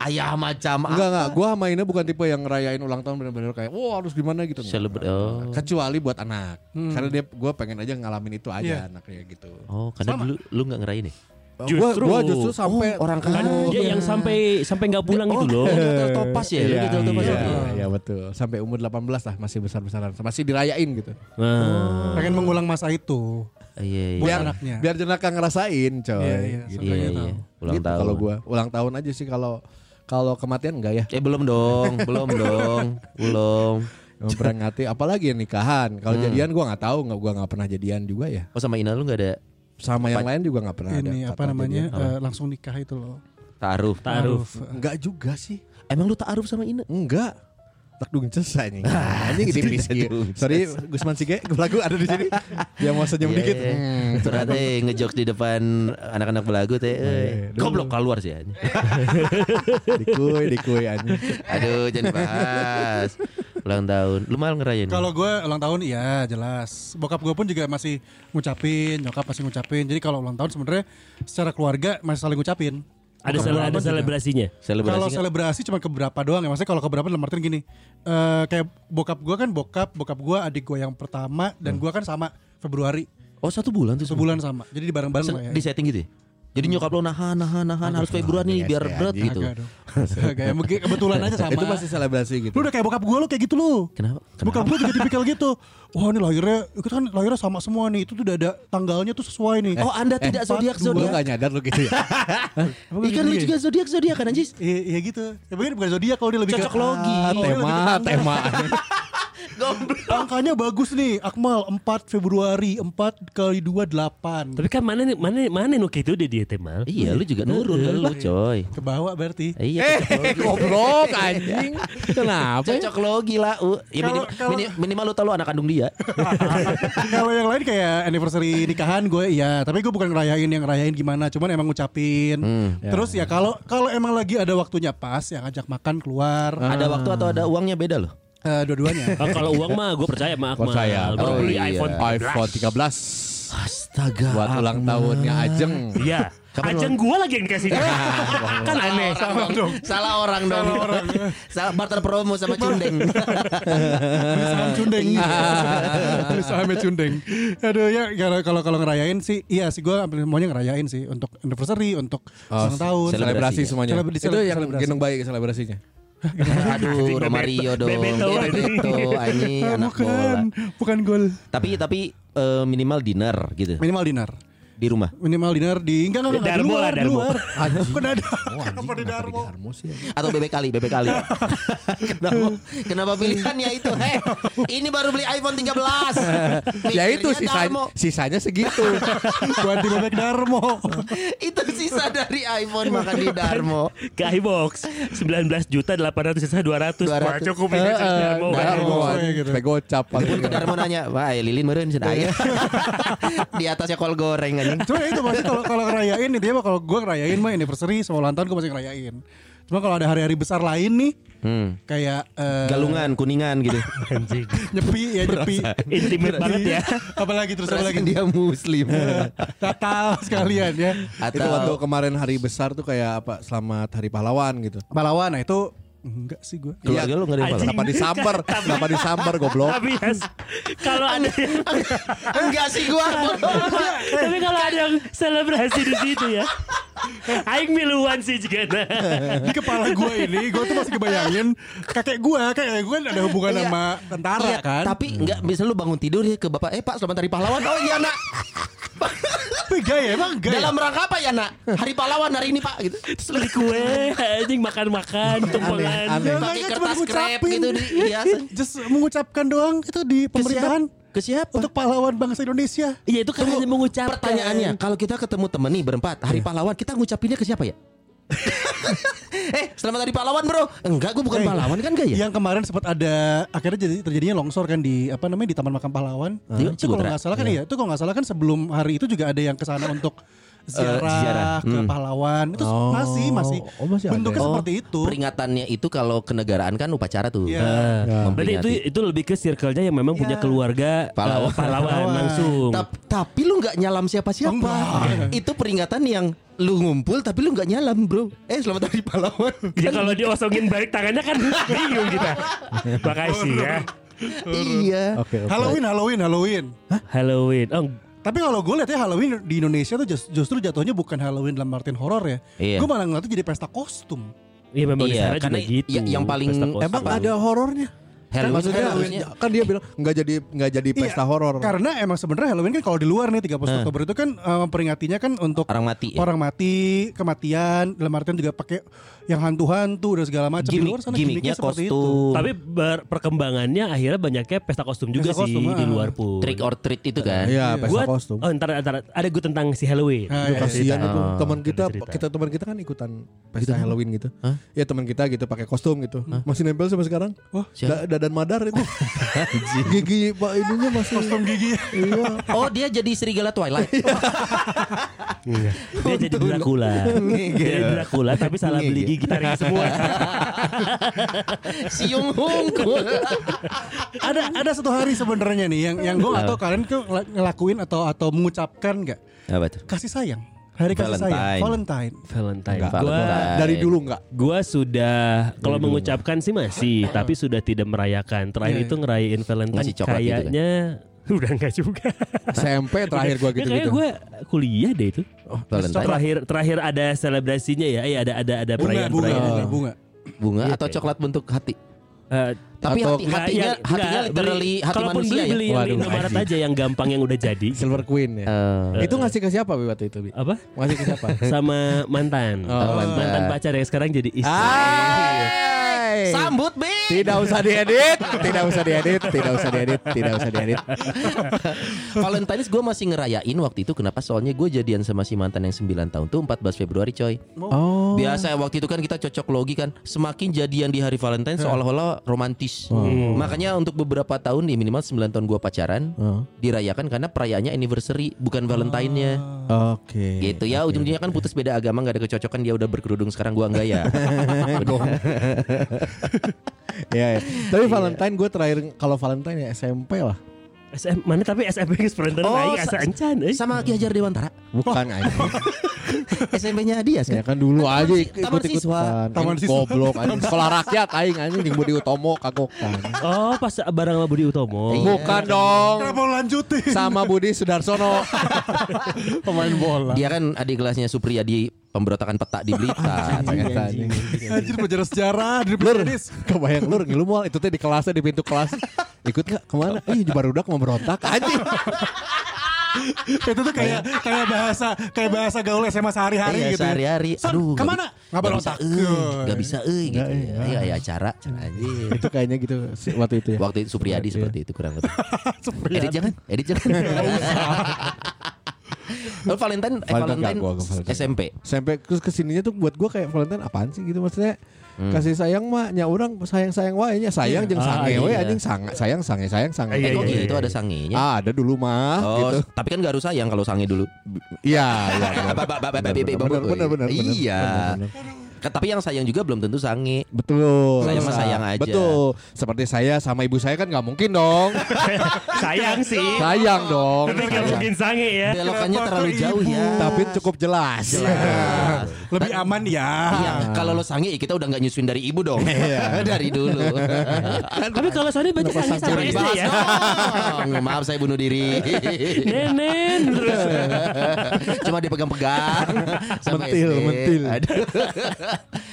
Speaker 2: Ayah macam
Speaker 4: Enggak enggak, gua sama Ina bukan tipe yang ngerayain ulang tahun bener-bener kayak wah harus gimana gitu. Enggak,
Speaker 2: Celebrate,
Speaker 4: enggak,
Speaker 2: oh.
Speaker 4: enggak. Kecuali buat anak. Karena dia gua pengen aja ngalamin itu aja anaknya gitu.
Speaker 2: Oh, karena dulu lu nggak ngerayain ya?
Speaker 4: Gua
Speaker 1: Justru.
Speaker 4: gua justru sampai
Speaker 2: Oh, orang
Speaker 1: Kan
Speaker 2: Oh,
Speaker 1: dia yang sampai sampai nggak pulang gitu loh.
Speaker 2: Lu di hotel topas ya? Lu
Speaker 4: Oh.
Speaker 2: di
Speaker 4: Iya,
Speaker 2: hotel topas
Speaker 4: iya,
Speaker 2: waktu itu?
Speaker 4: iya, betul. Sampai umur 18 lah masih besar-besaran. Masih dirayain gitu.
Speaker 1: Nah,
Speaker 2: Eh.
Speaker 6: pengen mengulang masa itu
Speaker 2: Iya, iya.
Speaker 6: Buat
Speaker 4: Biar
Speaker 6: anaknya.
Speaker 4: biar jenaka ngerasain, coy.
Speaker 6: Iya, iya,
Speaker 4: Gitu.
Speaker 2: Iya,
Speaker 6: Makanya
Speaker 2: iya.
Speaker 6: tahu.
Speaker 2: Ulang
Speaker 4: Gitu
Speaker 2: tahun.
Speaker 4: Kalau gua ulang tahun aja sih kalau kalau kematian enggak ya.
Speaker 2: Eh belum dong, belum dong, belum.
Speaker 4: memperingati apalagi yang nikahan
Speaker 2: Hmm.
Speaker 4: kalau jadian gua nggak tahu nggak gua nggak pernah jadian juga ya
Speaker 2: Oh sama Ina lu nggak ada
Speaker 4: sama yang lain juga nggak pernah ada
Speaker 6: ini apa
Speaker 4: kata
Speaker 6: namanya
Speaker 4: jadian.
Speaker 6: eh, langsung nikah itu loh
Speaker 2: taaruf?
Speaker 1: taruh.
Speaker 4: nggak juga sih
Speaker 2: Emang lu taaruf sama Ah, Ina?
Speaker 4: nggak tak dung ces anjing. Anjing tipis gitu. Sorry Gusman Sige, lagu ada di sini. Dia mau senyum
Speaker 2: Iya,
Speaker 4: dikit.
Speaker 2: iya.
Speaker 4: Hmm,
Speaker 2: Ternyata eh, ngejokes di depan anak-anak belagu teh. eh, Goblok keluar sih anjing. iya.
Speaker 4: Dikuy, dikuy anjing.
Speaker 2: Aduh, jangan dibahas. Ulang tahun. Lu mal ngerayain.
Speaker 6: Kalau gue ulang tahun iya jelas. Bokap gue pun juga masih ngucapin, nyokap masih ngucapin. Jadi kalau ulang tahun sebenarnya secara keluarga masih saling ngucapin.
Speaker 1: Ada
Speaker 6: Bokap
Speaker 1: sele-
Speaker 6: gue
Speaker 1: ada
Speaker 6: juga.
Speaker 1: selebrasinya.
Speaker 2: selebrasi
Speaker 6: Kalau
Speaker 2: nggak?
Speaker 6: selebrasi cuma keberapa doang ya. Maksudnya kalau keberapa dalam artian gini. eh, kayak bokap gue kan bokap, bokap gue adik gue yang pertama dan
Speaker 2: Hmm.
Speaker 6: gue kan sama Februari.
Speaker 2: Oh, satu bulan tuh.
Speaker 6: Sebulan sama. Jadi di bareng-bareng
Speaker 2: Se-
Speaker 6: lah ya.
Speaker 2: di setting gitu ya? Jadi nyokap lo nahan, nahan, nahan harus Februari nih biar berat gitu.
Speaker 6: Kagak dong. Kagak ya. Mungkin kebetulan aja sama.
Speaker 4: Itu pasti selebrasi gitu.
Speaker 6: Lu udah kayak bokap gue lu kayak gitu lu.
Speaker 2: Kenapa?
Speaker 6: Bokap gue juga tipikal gitu. Wah ini lahirnya, itu kan lahirnya sama semua nih. Itu udah ada tanggalnya tuh sesuai nih. Eh,
Speaker 2: Oh, Anda tidak zodiak
Speaker 4: Lu
Speaker 2: zodiak.
Speaker 4: gak nyadar lu gitu ya.
Speaker 6: Apa gua
Speaker 2: Ikan lu
Speaker 6: gitu
Speaker 2: juga zodiak zodiak kan anjis?
Speaker 6: Iya iya gitu. Ya mungkin bukan zodiak kalau dia lebih
Speaker 2: Cocok logi.
Speaker 6: Ah, kalau dia lebih ke
Speaker 4: tema,
Speaker 6: tanggal.
Speaker 4: tema.
Speaker 6: Angkanya bagus nih. Akmal 4 Februari, 4 kali 2 8.
Speaker 1: Tapi kan mana nih mana mana nu kayak itu dia dia temal.
Speaker 2: Iya, lu juga nurun ke lu, coy.
Speaker 6: Ke bawah berarti.
Speaker 2: Iya, cocok logi.
Speaker 4: Goblok anjing. Kenapa?
Speaker 2: Cocok logi lah. U. Ya,
Speaker 6: Kalau-
Speaker 2: minim-
Speaker 6: kalau-
Speaker 2: minim- minimal lu tau lu anak kandung dia.
Speaker 6: kalau yang lain kayak anniversary nikahan gue iya, tapi gue bukan ngerayain yang ngerayain gimana, cuman emang ngucapin.
Speaker 2: Hmm.
Speaker 6: Terus ya kalau kalau emang lagi ada waktunya pas ya ngajak makan keluar
Speaker 2: Ah. Ada waktu atau ada uangnya beda loh.
Speaker 6: eh, dua-duanya.
Speaker 1: Ah, kalau uang mah gue percaya sama Akmal.
Speaker 4: Percaya.
Speaker 1: Gua
Speaker 2: Oh,
Speaker 1: beli
Speaker 2: iya.
Speaker 1: iPhone.
Speaker 4: iPhone 13
Speaker 2: Astaga.
Speaker 4: buat ulang tahunnya Ajeng.
Speaker 1: Iya.
Speaker 2: Kapan
Speaker 1: Ajeng gue lagi yang dikasih. kan aneh.
Speaker 2: Salah dong. Salah orang dong. Salah barter promo sama Cundeng.
Speaker 6: Beli saham cundeng.
Speaker 2: Ah.
Speaker 6: Beli sahamnya cundeng. Aduh ya kalau kalau kalau ngerayain sih iya sih gue hampir semuanya ngerayain sih untuk anniversary, untuk ulang tahun.
Speaker 2: Oh, selebrasi.
Speaker 4: Selebrasi semuanya.
Speaker 6: Selebra- di-
Speaker 4: Itu yang
Speaker 6: Oh, selebrasi.
Speaker 4: gendong bayi
Speaker 6: Oh,
Speaker 4: selebrasinya.
Speaker 2: Aduh, Romario dong.
Speaker 1: Bebeto.
Speaker 2: Bebeto, anjing
Speaker 6: Ah,
Speaker 2: anak
Speaker 6: bukan,
Speaker 2: bola.
Speaker 6: bukan gol.
Speaker 2: Tapi tapi eh, minimal dinner gitu
Speaker 6: Minimal dinar.
Speaker 2: di rumah.
Speaker 6: Minimal dinar di enggak enggak enggak di
Speaker 1: Darmo
Speaker 6: luar,
Speaker 1: lah,
Speaker 6: di
Speaker 1: Darmo.
Speaker 6: luar. Kok
Speaker 4: Oh,
Speaker 6: ada?
Speaker 4: anjing,
Speaker 6: Kenapa di
Speaker 4: kenapa
Speaker 6: Darmo?
Speaker 4: Darmo sih?
Speaker 2: Atau bebek kali, bebek kali. kenapa, kenapa pilihannya itu? Heh, ini baru beli iPhone 13.
Speaker 4: Ya itu
Speaker 2: Mikirnya Darmo.
Speaker 4: sisanya, sisanya segitu.
Speaker 6: Buat di bebek Darmo.
Speaker 2: Itu sisa dari iPhone makan di Darmo.
Speaker 1: Ke iBox 19 juta 800 sisa 200. Wah,
Speaker 2: 200.
Speaker 1: cukup nih kasih Darmo.
Speaker 4: Eh, Darmo
Speaker 6: Darmo,
Speaker 4: anjing,
Speaker 6: gitu.
Speaker 4: sampai gocap.
Speaker 2: Pun ke Darmo nanya, "Wah, eh, lilin meureun cenah aya." di atasnya kol goreng anjing.
Speaker 6: Cuma ya itu pasti kalau kalau ngerayain intinya mah kalau gue ngerayain mah anniversary sama ulang tahun gue masih ngerayain. Cuma kalau ada hari-hari besar lain nih
Speaker 2: Hmm.
Speaker 6: kayak eh,
Speaker 2: Galungan, kuningan gitu.
Speaker 1: Anjing.
Speaker 6: nyepi ya nyepi.
Speaker 1: Intimate banget ya.
Speaker 6: Apalagi terus apalagi
Speaker 2: Berarti dia muslim.
Speaker 4: Iya.
Speaker 6: Natal sekalian ya.
Speaker 4: Itu waktu
Speaker 2: Atau
Speaker 4: kemarin hari besar tuh kayak apa? Selamat Hari Pahlawan gitu.
Speaker 6: Pahlawan nah itu enggak sih gue.
Speaker 2: keluarga lu enggak ada yang
Speaker 1: Anjing.
Speaker 2: malam?
Speaker 4: Kenapa disambar? Kenapa disambar goblok?
Speaker 1: Tapi yes, kalau ada yang-
Speaker 2: Enggak sih gua.
Speaker 1: tapi kalau ada yang selebrasi di situ ya. Aing miluan sih juga.
Speaker 6: Di kepala gue ini gue tuh masih kebayangin kakek gue kakek gue kan ada hubungan
Speaker 2: Iya.
Speaker 6: sama tentara
Speaker 2: Iya,
Speaker 6: kan.
Speaker 2: Tapi enggak bisa lu bangun tidur ya ke bapak, "Eh Pak, selamat hari pahlawan." Oh iya, Nak.
Speaker 6: Tapi gay ya, emang gay.
Speaker 2: Dalam rangka apa ya, Nak? Hari pahlawan hari ini, Pak, gitu.
Speaker 1: Terus beli kue, anjing makan-makan, tumpengan.
Speaker 4: aneh.
Speaker 2: Pakai
Speaker 6: Ya, kan cuma
Speaker 2: kertas krep
Speaker 6: ngucapin.
Speaker 2: gitu di hiasan.
Speaker 6: Just mengucapkan doang itu di pemerintahan
Speaker 2: Ke siapa?
Speaker 6: untuk pahlawan bangsa Indonesia.
Speaker 1: Iya itu kan hanya mengucapkan.
Speaker 2: Pertanyaannya, kalau kita ketemu temen nih berempat, hari pahlawan, kita ngucapinnya ke siapa ya? eh, selamat hari pahlawan, Bro. Enggak, gua bukan
Speaker 6: Eh,
Speaker 2: pahlawan kan enggak ya?
Speaker 6: Yang kemarin sempat ada akhirnya jadi terjadinya longsor kan di apa namanya di Taman Makam Pahlawan.
Speaker 2: Ah, Di
Speaker 6: Itu kalau
Speaker 2: Ciputra.
Speaker 6: nggak salah kan iya, itu kalau nggak salah kan sebelum hari itu juga ada yang ke sana untuk ziarah,
Speaker 2: Eh, ziarah,
Speaker 6: ke
Speaker 2: hmm.
Speaker 6: Pahlawan. Itu
Speaker 4: Oh,
Speaker 6: masih masih,
Speaker 4: oh, masih ada
Speaker 6: bentuknya
Speaker 4: ya?
Speaker 6: seperti itu.
Speaker 2: Peringatannya itu kalau kenegaraan kan upacara tuh.
Speaker 6: Iya.
Speaker 1: Ah, Berarti itu
Speaker 2: Memperingati.
Speaker 1: itu lebih ke circle-nya yang memang punya
Speaker 6: Iya.
Speaker 1: keluarga eh,
Speaker 2: Pahlawan.
Speaker 1: pahlawan, langsung.
Speaker 2: Tap- tapi lu nggak nyalam siapa-siapa.
Speaker 6: Enggak.
Speaker 2: Itu peringatan yang lu ngumpul tapi lu nggak nyalam, Bro. Eh, selamat hari pahlawan.
Speaker 1: Ya kalau diosongin balik tangannya kan bingung kita. Makasih ya.
Speaker 2: iya.
Speaker 4: Oke. oke.
Speaker 6: Halloween, Halloween, Halloween.
Speaker 1: Halloween. Oh,
Speaker 6: Tapi kalau gue lihatnya Halloween di Indonesia tuh just- justru jatuhnya bukan Halloween dalam artin horor ya.
Speaker 2: Iya.
Speaker 6: Gue malah ngeliatnya jadi pesta kostum.
Speaker 1: iya memang di
Speaker 2: Iya,
Speaker 1: sana juga
Speaker 2: karena
Speaker 1: gitu.
Speaker 2: ya- yang paling-
Speaker 1: Pesta kostum.
Speaker 4: Emang ada horornya?
Speaker 2: Halloween
Speaker 4: maksudnya
Speaker 2: kan harusnya-
Speaker 4: kan dia bilang nggak jadi nggak jadi
Speaker 6: Iya,
Speaker 4: pesta horor.
Speaker 6: Karena emang sebenarnya Halloween kan kalau di luar nih 30 Oktober itu kan eh, memperingatinya kan untuk
Speaker 2: Orang mati Nah. ya?
Speaker 6: orang mati, kematian, dalam artian juga pakai yang hantu-hantu dan segala macam di luar
Speaker 2: gimmick,
Speaker 6: sana
Speaker 2: gimmicknya
Speaker 6: gimmicknya seperti
Speaker 2: kostum
Speaker 1: Tapi ber- perkembangannya akhirnya banyaknya pesta kostum juga
Speaker 6: Pesta
Speaker 1: sih
Speaker 6: kostum,
Speaker 1: di
Speaker 6: ah.
Speaker 1: luar pun.
Speaker 2: trick or treat itu kan
Speaker 4: Iya, pesta
Speaker 1: Gua-
Speaker 4: kostum.
Speaker 1: Oh, ntar, ntar ada gue tentang si Halloween.
Speaker 6: Ah,
Speaker 4: Aduh,
Speaker 6: iya,
Speaker 4: kasihan
Speaker 2: cerita.
Speaker 4: itu teman
Speaker 1: Oh,
Speaker 4: kita
Speaker 1: ada cerita.
Speaker 4: kita teman kita kan ikutan pesta Halloween gitu. Ya teman kita gitu pakai kostum gitu. Masih nempel sampai sekarang. Wah,
Speaker 2: Siapa?
Speaker 4: da- dadan madar itu. gigi Pak ininya masih kostum gigi. Iya.
Speaker 2: oh dia jadi serigala twilight
Speaker 4: Iya.
Speaker 1: Dia jadi Dracula. Dia jadi Dracula tapi salah beli gigi tarik semua.
Speaker 2: siung hungkul
Speaker 6: ada ada satu hari sebenarnya nih yang yang gue
Speaker 2: Nah.
Speaker 6: atau kalian tuh ngel- ngelakuin atau atau mengucapkan nggak
Speaker 2: apa tuh
Speaker 6: kasih sayang hari kasih sayang Valentine
Speaker 1: Valentine.
Speaker 4: Enggak.
Speaker 1: Gua
Speaker 4: Dari dulu enggak.
Speaker 1: gua sudah kalau mengucapkan sih masih tapi sudah tidak merayakan. Terakhir itu ngerayain Valentine
Speaker 2: Ngasih Iya. coklat gitu kan?
Speaker 1: kayaknya udah enggak juga.
Speaker 4: SMP terakhir
Speaker 1: Ya,
Speaker 4: gua
Speaker 1: kayaknya
Speaker 4: gitu-gitu.
Speaker 1: gue kuliah deh itu.
Speaker 2: gitu Oh, Valentine
Speaker 1: Terakhir terakhir ada selebrasinya ya. Iya ada ada ada
Speaker 6: bunga
Speaker 1: perayaan
Speaker 6: bunga
Speaker 1: perayaan.
Speaker 6: bunga, bunga.
Speaker 2: bunga atau coklat bentuk hati
Speaker 1: Eh,
Speaker 2: tapi
Speaker 4: Atau Iya,
Speaker 2: hati, hatinya
Speaker 1: enggak,
Speaker 2: hatinya
Speaker 1: enggak,
Speaker 2: literally
Speaker 1: beli-
Speaker 2: hati
Speaker 1: kalaupun
Speaker 2: manusia
Speaker 1: beli,
Speaker 2: ya
Speaker 1: beli yang di
Speaker 4: Waduh,
Speaker 1: Indomaret
Speaker 4: anjing.
Speaker 1: aja yang gampang yang udah jadi.
Speaker 4: Silver Queen ya.
Speaker 2: Eh,
Speaker 4: itu ngasih ke siapa Bi, waktu itu? Bi?
Speaker 1: Apa?
Speaker 4: Ngasih ke siapa?
Speaker 1: Sama mantan.
Speaker 2: Oh, mantan. Ah.
Speaker 1: mantan pacar yang sekarang jadi istri.
Speaker 4: Hai.
Speaker 2: sambut bi
Speaker 4: Tidak usah diedit, tidak usah diedit, tidak usah diedit, tidak usah diedit.
Speaker 2: Valentine's gue masih ngerayain waktu itu kenapa soalnya gue jadian sama si mantan yang 9 tahun tuh 14 Februari coy
Speaker 4: Oh.
Speaker 2: Biasa waktu itu kan kita cocok logi kan Semakin jadian di hari Valentine seolah-olah romantis Hmm. Makanya untuk beberapa tahun nih minimal 9 tahun gue pacaran
Speaker 4: Oh.
Speaker 2: Dirayakan karena perayaannya anniversary bukan Valentine-nya
Speaker 4: Ah. Oke.
Speaker 2: Gitu ya ujung-ujungnya kan putus beda agama gak ada kecocokan dia udah berkerudung sekarang gue enggak ya
Speaker 4: Iya, ya. Tapi Valentine gue terakhir kalau Valentine ya SMP lah.
Speaker 1: SM, mana tapi SMP yang sebenarnya
Speaker 2: Oh,
Speaker 1: naik
Speaker 2: sa-
Speaker 1: asa encan. eh.
Speaker 2: Sama Ki Hajar Dewantara
Speaker 4: Bukan anjing.
Speaker 2: SMP-nya dia
Speaker 4: Ya
Speaker 2: kan
Speaker 4: kan dulu
Speaker 2: Taman
Speaker 4: aja
Speaker 2: si-
Speaker 4: ikut
Speaker 2: taman siswa.
Speaker 4: ikutan.
Speaker 6: Taman siswa.
Speaker 4: Goblok anjing. Sekolah rakyat aing anjing jeung Budi Utomo kagokan.
Speaker 1: Oh, pas bareng sama Budi Utomo.
Speaker 2: Iya.
Speaker 4: Bukan dong.
Speaker 6: kenapa lo lanjutin
Speaker 4: Sama Budi Sudarsono.
Speaker 6: pemain bola
Speaker 2: Dia kan adik kelasnya Supriyadi pemberontakan peta di Blitar
Speaker 4: Ternyata anjing.
Speaker 6: anjir penjara sejarah dari Perancis
Speaker 4: Kebayang lur ngilu moal itu teh di kelasnya di pintu kelas. Ikut gak kemana? Ih di barudak mau berontak anjing.
Speaker 6: itu tuh kayak kayak bahasa kayak bahasa gaul SMA sehari-hari
Speaker 2: Iya
Speaker 6: gitu ya.
Speaker 2: sehari-hari
Speaker 6: Son,
Speaker 2: Aduh nggak
Speaker 6: kemana?
Speaker 2: bi-
Speaker 6: Nggak
Speaker 2: nggak
Speaker 6: berotak.
Speaker 2: bisa, euy. Nggak bisa euy gitu
Speaker 4: Nggak,
Speaker 2: ya
Speaker 4: nggak.
Speaker 2: Iya ya acara Acara anjing
Speaker 4: Itu kayaknya gitu si- waktu itu ya.
Speaker 2: Waktu itu Supriyadi seperti itu kurang lebih. edit jangan, edit jangan. Lo Valentine, eh,
Speaker 4: Valentine
Speaker 2: Valentine,
Speaker 4: gak, gua ke Valentine. Iya,
Speaker 2: SMP.
Speaker 4: sampai terus kesininya tuh buat gue kayak Valentine apaan sih gitu maksudnya
Speaker 2: Hmm.
Speaker 4: kasih sayang mah nya orang sayang sayang wae nya sayang jeung
Speaker 1: Ah, iya.
Speaker 4: sange we anjing sange sayang sange sayang sange
Speaker 1: Iya,
Speaker 2: Eh, kok
Speaker 1: iya,
Speaker 2: gitu
Speaker 1: iya.
Speaker 2: ada sangenya.
Speaker 4: ah ada dulu mah
Speaker 2: oh,
Speaker 4: gitu
Speaker 2: tapi kan gak harus sayang kalau sange dulu.
Speaker 4: iya iya
Speaker 2: Ba- ba- ba- ba- ba- ba-
Speaker 4: bener,
Speaker 2: ba-
Speaker 4: bener,
Speaker 2: ba-
Speaker 4: bener, bener,
Speaker 2: Iya.
Speaker 4: bener, bener.
Speaker 2: Ke- Tapi yang sayang juga belum tentu sange.
Speaker 4: betul
Speaker 2: Saya mah
Speaker 4: Sa-
Speaker 2: sayang aja.
Speaker 4: betul seperti saya sama ibu saya kan nggak mungkin dong
Speaker 1: Sayang sih.
Speaker 2: Iya.
Speaker 4: sayang dong
Speaker 1: Tapi nggak
Speaker 4: Sayang.
Speaker 1: mungkin sange
Speaker 4: Eh,
Speaker 1: ya.
Speaker 2: Belokannya
Speaker 6: Kenapa
Speaker 2: terlalu
Speaker 6: ke
Speaker 2: jauh
Speaker 6: ibu?
Speaker 2: ya.
Speaker 4: tapi cukup jelas
Speaker 2: Jelas.
Speaker 6: Lebih aman ya.
Speaker 2: Iya, kalau lo sange kita udah nggak nyusuin dari ibu dong.
Speaker 4: Iya.
Speaker 2: dari dulu.
Speaker 1: Tapi kalau Sony baca sange sama
Speaker 2: Jangan
Speaker 1: SD
Speaker 2: dibahas
Speaker 1: ya.
Speaker 2: dong. Maaf saya bunuh diri.
Speaker 1: Nenen terus.
Speaker 2: Cuma dipegang-pegang sampai
Speaker 4: Mentil,
Speaker 2: SD.
Speaker 4: mentil.
Speaker 2: Aduh.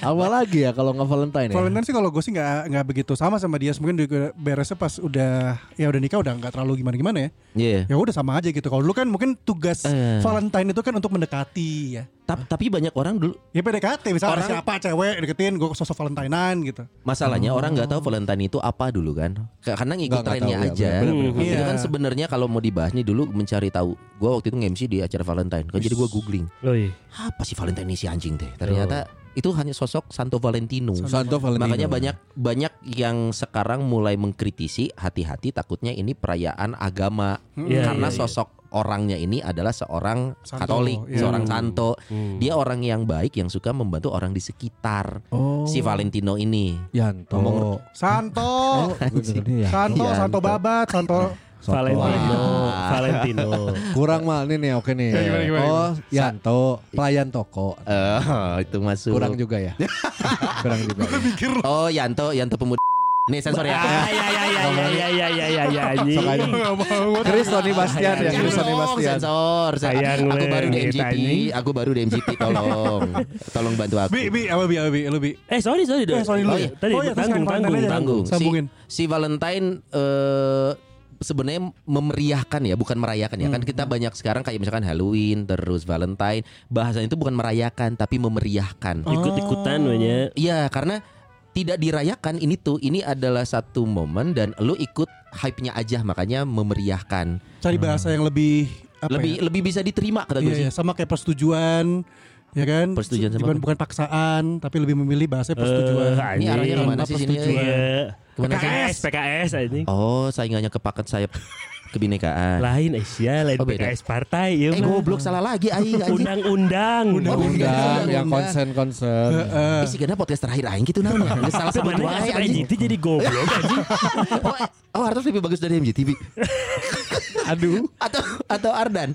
Speaker 4: awal lagi ya kalau nggak Valentine ya
Speaker 6: Valentine sih kalau gue sih nggak nggak begitu sama sama dia. Mungkin juga beresnya pas udah ya udah nikah udah nggak terlalu gimana gimana ya.
Speaker 2: Iya. Eh.
Speaker 6: Ya udah sama aja gitu. Kalau dulu kan mungkin tugas Valentine itu kan untuk mendekati ya.
Speaker 2: Ta- Tapi banyak orang dulu
Speaker 6: Ya PDKT misalnya
Speaker 2: Orang-
Speaker 6: siapa cewek deketin gue sosok Valentinean gitu.
Speaker 2: masalahnya orang nggak tahu Valentine itu apa dulu kan. Ka- Karena ngikut
Speaker 4: Nggak, nggak
Speaker 2: trennya
Speaker 4: tahu, ya,
Speaker 2: aja.
Speaker 4: benar,
Speaker 1: benar,
Speaker 6: benar.
Speaker 2: Itu kan
Speaker 6: Iya.
Speaker 2: sebenarnya kalau mau dibahas nih dulu mencari tahu. Gua waktu itu nge-MC di acara Valentine. Kan jadi gua googling.
Speaker 1: Oi.
Speaker 2: Apa sih Valentine ini si anjing teh? Ternyata itu hanya sosok Santo Valentino.
Speaker 4: Santo Valentino
Speaker 2: Makanya banyak banyak yang sekarang mulai mengkritisi hati-hati takutnya ini perayaan agama
Speaker 1: Iya,
Speaker 2: karena
Speaker 1: iya, iya.
Speaker 2: sosok orangnya ini adalah seorang
Speaker 6: Santo,
Speaker 2: Katolik,
Speaker 6: iya.
Speaker 2: seorang santo. Dia orang yang baik yang suka membantu orang di sekitar.
Speaker 4: oh
Speaker 2: Si Valentino ini.
Speaker 4: Yanto
Speaker 2: Ngomong-
Speaker 6: Santo,
Speaker 4: Iya.
Speaker 6: Santo,
Speaker 2: Oh, Iya, Anto.
Speaker 6: Santo Babat, Santo.
Speaker 4: Soto.
Speaker 1: Valentino,
Speaker 2: Wah.
Speaker 1: Valentino.
Speaker 4: Kurang mal nih nih oke nih.
Speaker 6: Ya, gimana, gimana,
Speaker 4: oh, Yanto, pelayan toko.
Speaker 2: Eh, itu masuk.
Speaker 4: Kurang juga ya. Kurang juga.
Speaker 2: Oh, Yanto, Yanto pemuda. Nih sensor ya.
Speaker 1: Ah, ya ya ya ya ya ya ya ya ya anjing.
Speaker 4: Makanya. Chris Tony Bastian ya, Chris Tony
Speaker 2: Jangan dong,
Speaker 4: Bastian.
Speaker 2: sensor.
Speaker 1: Sayang
Speaker 2: aku
Speaker 1: lu,
Speaker 2: baru di
Speaker 1: kita
Speaker 2: MGT,
Speaker 1: anjing.
Speaker 2: aku baru di MGT tolong. tolong bantu aku.
Speaker 6: Bi, bi, apa bi, apa bi, lu bi.
Speaker 1: Eh sorry sorry dong.
Speaker 6: Eh, sorry dulu
Speaker 1: Oh,
Speaker 6: ya.
Speaker 1: Tadi
Speaker 6: Oh, iya, terus
Speaker 1: tanggung
Speaker 6: yang
Speaker 1: tanggung.
Speaker 6: Valentine aja.
Speaker 2: Tanggung. Si-
Speaker 6: Sambungin.
Speaker 2: Si, Valentine eh sebenarnya memeriahkan ya, bukan merayakan ya. Kan
Speaker 6: Hmm.
Speaker 2: kita banyak sekarang kayak misalkan Halloween, terus Valentine, bahasanya itu bukan merayakan tapi memeriahkan.
Speaker 6: Oh.
Speaker 1: Ikut-ikutan ya. banyak.
Speaker 2: Iya, karena tidak dirayakan ini tuh ini adalah satu momen dan lu ikut hype-nya aja makanya memeriahkan.
Speaker 6: Cari bahasa yang lebih apa
Speaker 2: Hmm. lebih
Speaker 6: ya?
Speaker 2: lebih bisa diterima kata gue
Speaker 6: Iya,
Speaker 2: sih.
Speaker 6: iya, sama kayak persetujuan ya kan?
Speaker 2: Persetujuan sama
Speaker 6: bukan,
Speaker 2: apa?
Speaker 6: bukan paksaan, tapi lebih memilih bahasa persetujuan.
Speaker 1: Eh,
Speaker 2: Ini arahnya
Speaker 1: anjing.
Speaker 2: kemana sih sini?
Speaker 1: Iya.
Speaker 2: Kemana sih?
Speaker 1: PKS PKS anjing.
Speaker 2: Oh, saingannya kepaket sayap kebinekaan.
Speaker 1: Lain Asia, lain
Speaker 2: Nah. Oh, beda.
Speaker 1: PKS partai ya.
Speaker 2: eh
Speaker 1: mah.
Speaker 2: goblok salah lagi aing anjing.
Speaker 1: Undang-undang.
Speaker 4: Undang yang konsen-konsen.
Speaker 2: Eh, sih kenapa podcast terakhir aing gitu namanya. Nggak salah
Speaker 1: Tapi
Speaker 2: sebut
Speaker 1: mana
Speaker 2: wae
Speaker 1: ngasih
Speaker 2: anjing.
Speaker 1: NGT jadi goblok anjing.
Speaker 2: Oh, eh, oh Artos lebih bagus dari MJTV.
Speaker 4: Aduh.
Speaker 2: Atau atau Ardan.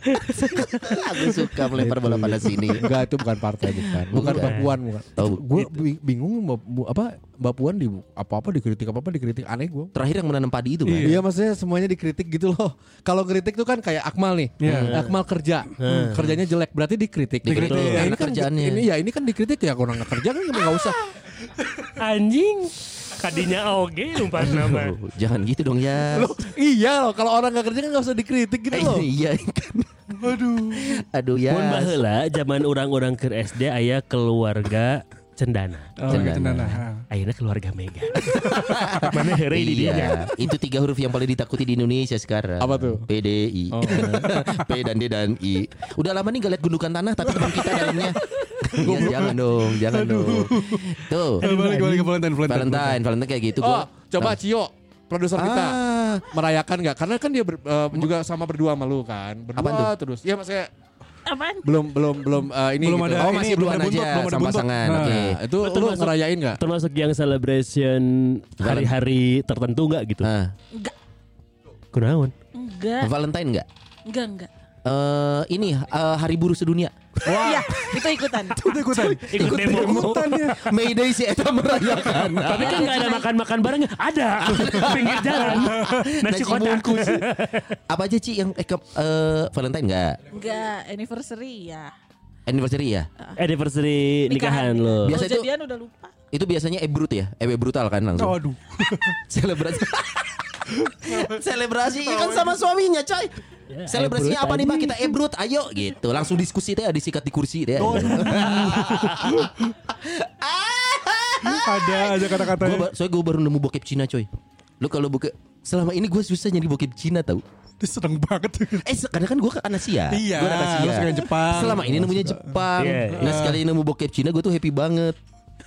Speaker 2: Aku suka melempar bola panas sini.
Speaker 4: Enggak itu bukan partai bukan. Bukan
Speaker 2: Bukan.
Speaker 4: Mbak Puan bukan.
Speaker 2: Tahu.
Speaker 4: Gue bingung Mbak Bu- apa Mbak Puan di apa-apa dikritik apa-apa dikritik aneh gue.
Speaker 2: Terakhir yang menanam padi itu kan.
Speaker 4: Iya. maksudnya semuanya dikritik gitu loh. Kalau kritik tuh kan kayak Akmal nih. Hmm. Akmal kerja. Hmm, Kerjanya jelek berarti dikritik.
Speaker 2: Dikritik,
Speaker 4: Ya,
Speaker 2: karena
Speaker 4: ini kan
Speaker 2: kerjaannya.
Speaker 4: ini ya ini kan dikritik ya orang nggak kerja kan nggak usah.
Speaker 1: Anjing. Kadinya oge umpan nama.
Speaker 2: Oh, jangan gitu dong ya.
Speaker 4: Loh, iya loh kalau orang nggak kerja kan nggak usah dikritik gitu
Speaker 2: Eh,
Speaker 4: loh.
Speaker 2: iya kan. Aduh. Aduh ya.
Speaker 1: Mun baheula zaman orang-orang ke SD aya keluarga cendana.
Speaker 6: Oh,
Speaker 2: Cendana.
Speaker 6: cendana.
Speaker 1: Akhirnya keluarga Mega. Mana heureuy di dinya.
Speaker 2: Iya, itu tiga huruf yang paling ditakuti di Indonesia sekarang.
Speaker 4: Apa tuh? Oh.
Speaker 2: PDI. P dan D dan I. Udah lama nih gak lihat gundukan tanah tapi teman kita dalamnya. Iya, jangan dong, jangan dong. Tuh.
Speaker 6: Eh, balik balik ke Valentine, Valentine.
Speaker 2: Valentine, Valentine kayak gitu
Speaker 4: Oh,
Speaker 2: gua.
Speaker 4: coba Cio, produser kita
Speaker 2: Ah.
Speaker 4: merayakan nggak? Karena kan dia ber- eh, juga sama berdua sama lu kan. Berdua
Speaker 2: Apaan tuh?
Speaker 4: terus. Ya maksudnya belum belum belum eh, ini
Speaker 6: Belum
Speaker 4: gitu.
Speaker 6: ada
Speaker 2: Oh,
Speaker 6: ini,
Speaker 2: masih
Speaker 6: belum
Speaker 2: duluan
Speaker 6: ada buntut,
Speaker 2: aja
Speaker 6: belum ada
Speaker 2: sama
Speaker 6: buntut.
Speaker 2: pasangan.
Speaker 6: Nah.
Speaker 2: Oke.
Speaker 4: Nah, itu lu
Speaker 1: termasuk-
Speaker 4: ngerayain nggak?
Speaker 1: Termasuk yang celebration hari-hari tertentu enggak gitu?
Speaker 2: Ah,
Speaker 3: Enggak,
Speaker 1: Kunaon?
Speaker 3: enggak,
Speaker 2: Valentine enggak?
Speaker 3: enggak, enggak.
Speaker 2: Eh ini eh, hari buruh sedunia.
Speaker 3: Iya, itu ikutan.
Speaker 6: Itu ikutan.
Speaker 1: Ikut demo.
Speaker 6: Ikutan ya.
Speaker 2: Mayday si eta merayakan.
Speaker 1: Tapi kan nggak ada makan-makan barengnya. Ada pinggir jalan.
Speaker 2: Nah,
Speaker 1: Nasi kotak.
Speaker 2: bungkus. Apa aja Ci yang eh, ke- eh, Valentine enggak?
Speaker 3: Enggak, anniversary ya.
Speaker 2: Anniversary ya?
Speaker 1: Anniversary nikahan lo.
Speaker 2: Biasa
Speaker 3: Biasa
Speaker 2: itu-
Speaker 3: jadian udah lupa.
Speaker 2: Itu biasanya ebrut ya? Ewe brutal kan langsung.
Speaker 6: Oh, aduh.
Speaker 2: Selebrasi. Selebrasi iya kan sama suaminya, coy. Selebrasinya
Speaker 1: ebrut
Speaker 2: apa nih, Pak?
Speaker 1: Ya, tadi.
Speaker 2: Kita ebrut, ayo gitu. Langsung diskusi teh disikat di kursi teh.
Speaker 1: Oh.
Speaker 6: Ada aja kata-kata.
Speaker 2: Gua ba- soalnya gue baru nemu bokep Cina, coy. Lu kalau buka selama ini gue susah nyari bokep Cina tau
Speaker 6: Itu seneng banget.
Speaker 2: Eh se- karena kan gue kan Asia
Speaker 6: Iya,
Speaker 2: Gua anak Asia.
Speaker 6: lu suka yang Jepang.
Speaker 2: Selama ini nemunya Jepang
Speaker 1: Iya, iya.
Speaker 2: Nah sekali nemu bokep Cina gue tuh happy banget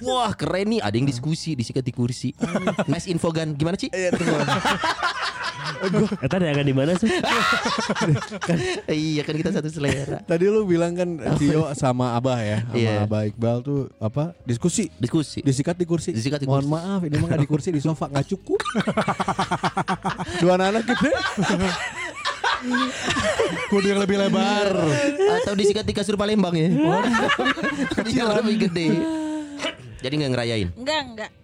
Speaker 2: Wah keren nih ada yang diskusi disikat di kursi Nice infogan Gimana Ci?
Speaker 1: Eta dagangan Eh, di mana sih?
Speaker 2: iya kan kita satu selera
Speaker 4: Tadi lu bilang kan Cio sama Abah ya, sama
Speaker 2: Iya.
Speaker 4: Abah Iqbal tuh apa? Diskusi.
Speaker 2: Diskusi
Speaker 4: Disikat di kursi.
Speaker 2: Disikat di
Speaker 4: Mohon
Speaker 2: kursi.
Speaker 4: maaf, ini mah nggak di kursi di sofa nggak cukup.
Speaker 6: Oh,
Speaker 4: Dua gitu. anak gede.
Speaker 6: Kudu yang lebih lebar.
Speaker 2: Atau disikat di kasur Palembang ya Tapi yang lebih gede Jadi gak ngerayain
Speaker 3: Enggak, enggak.
Speaker 1: Iya.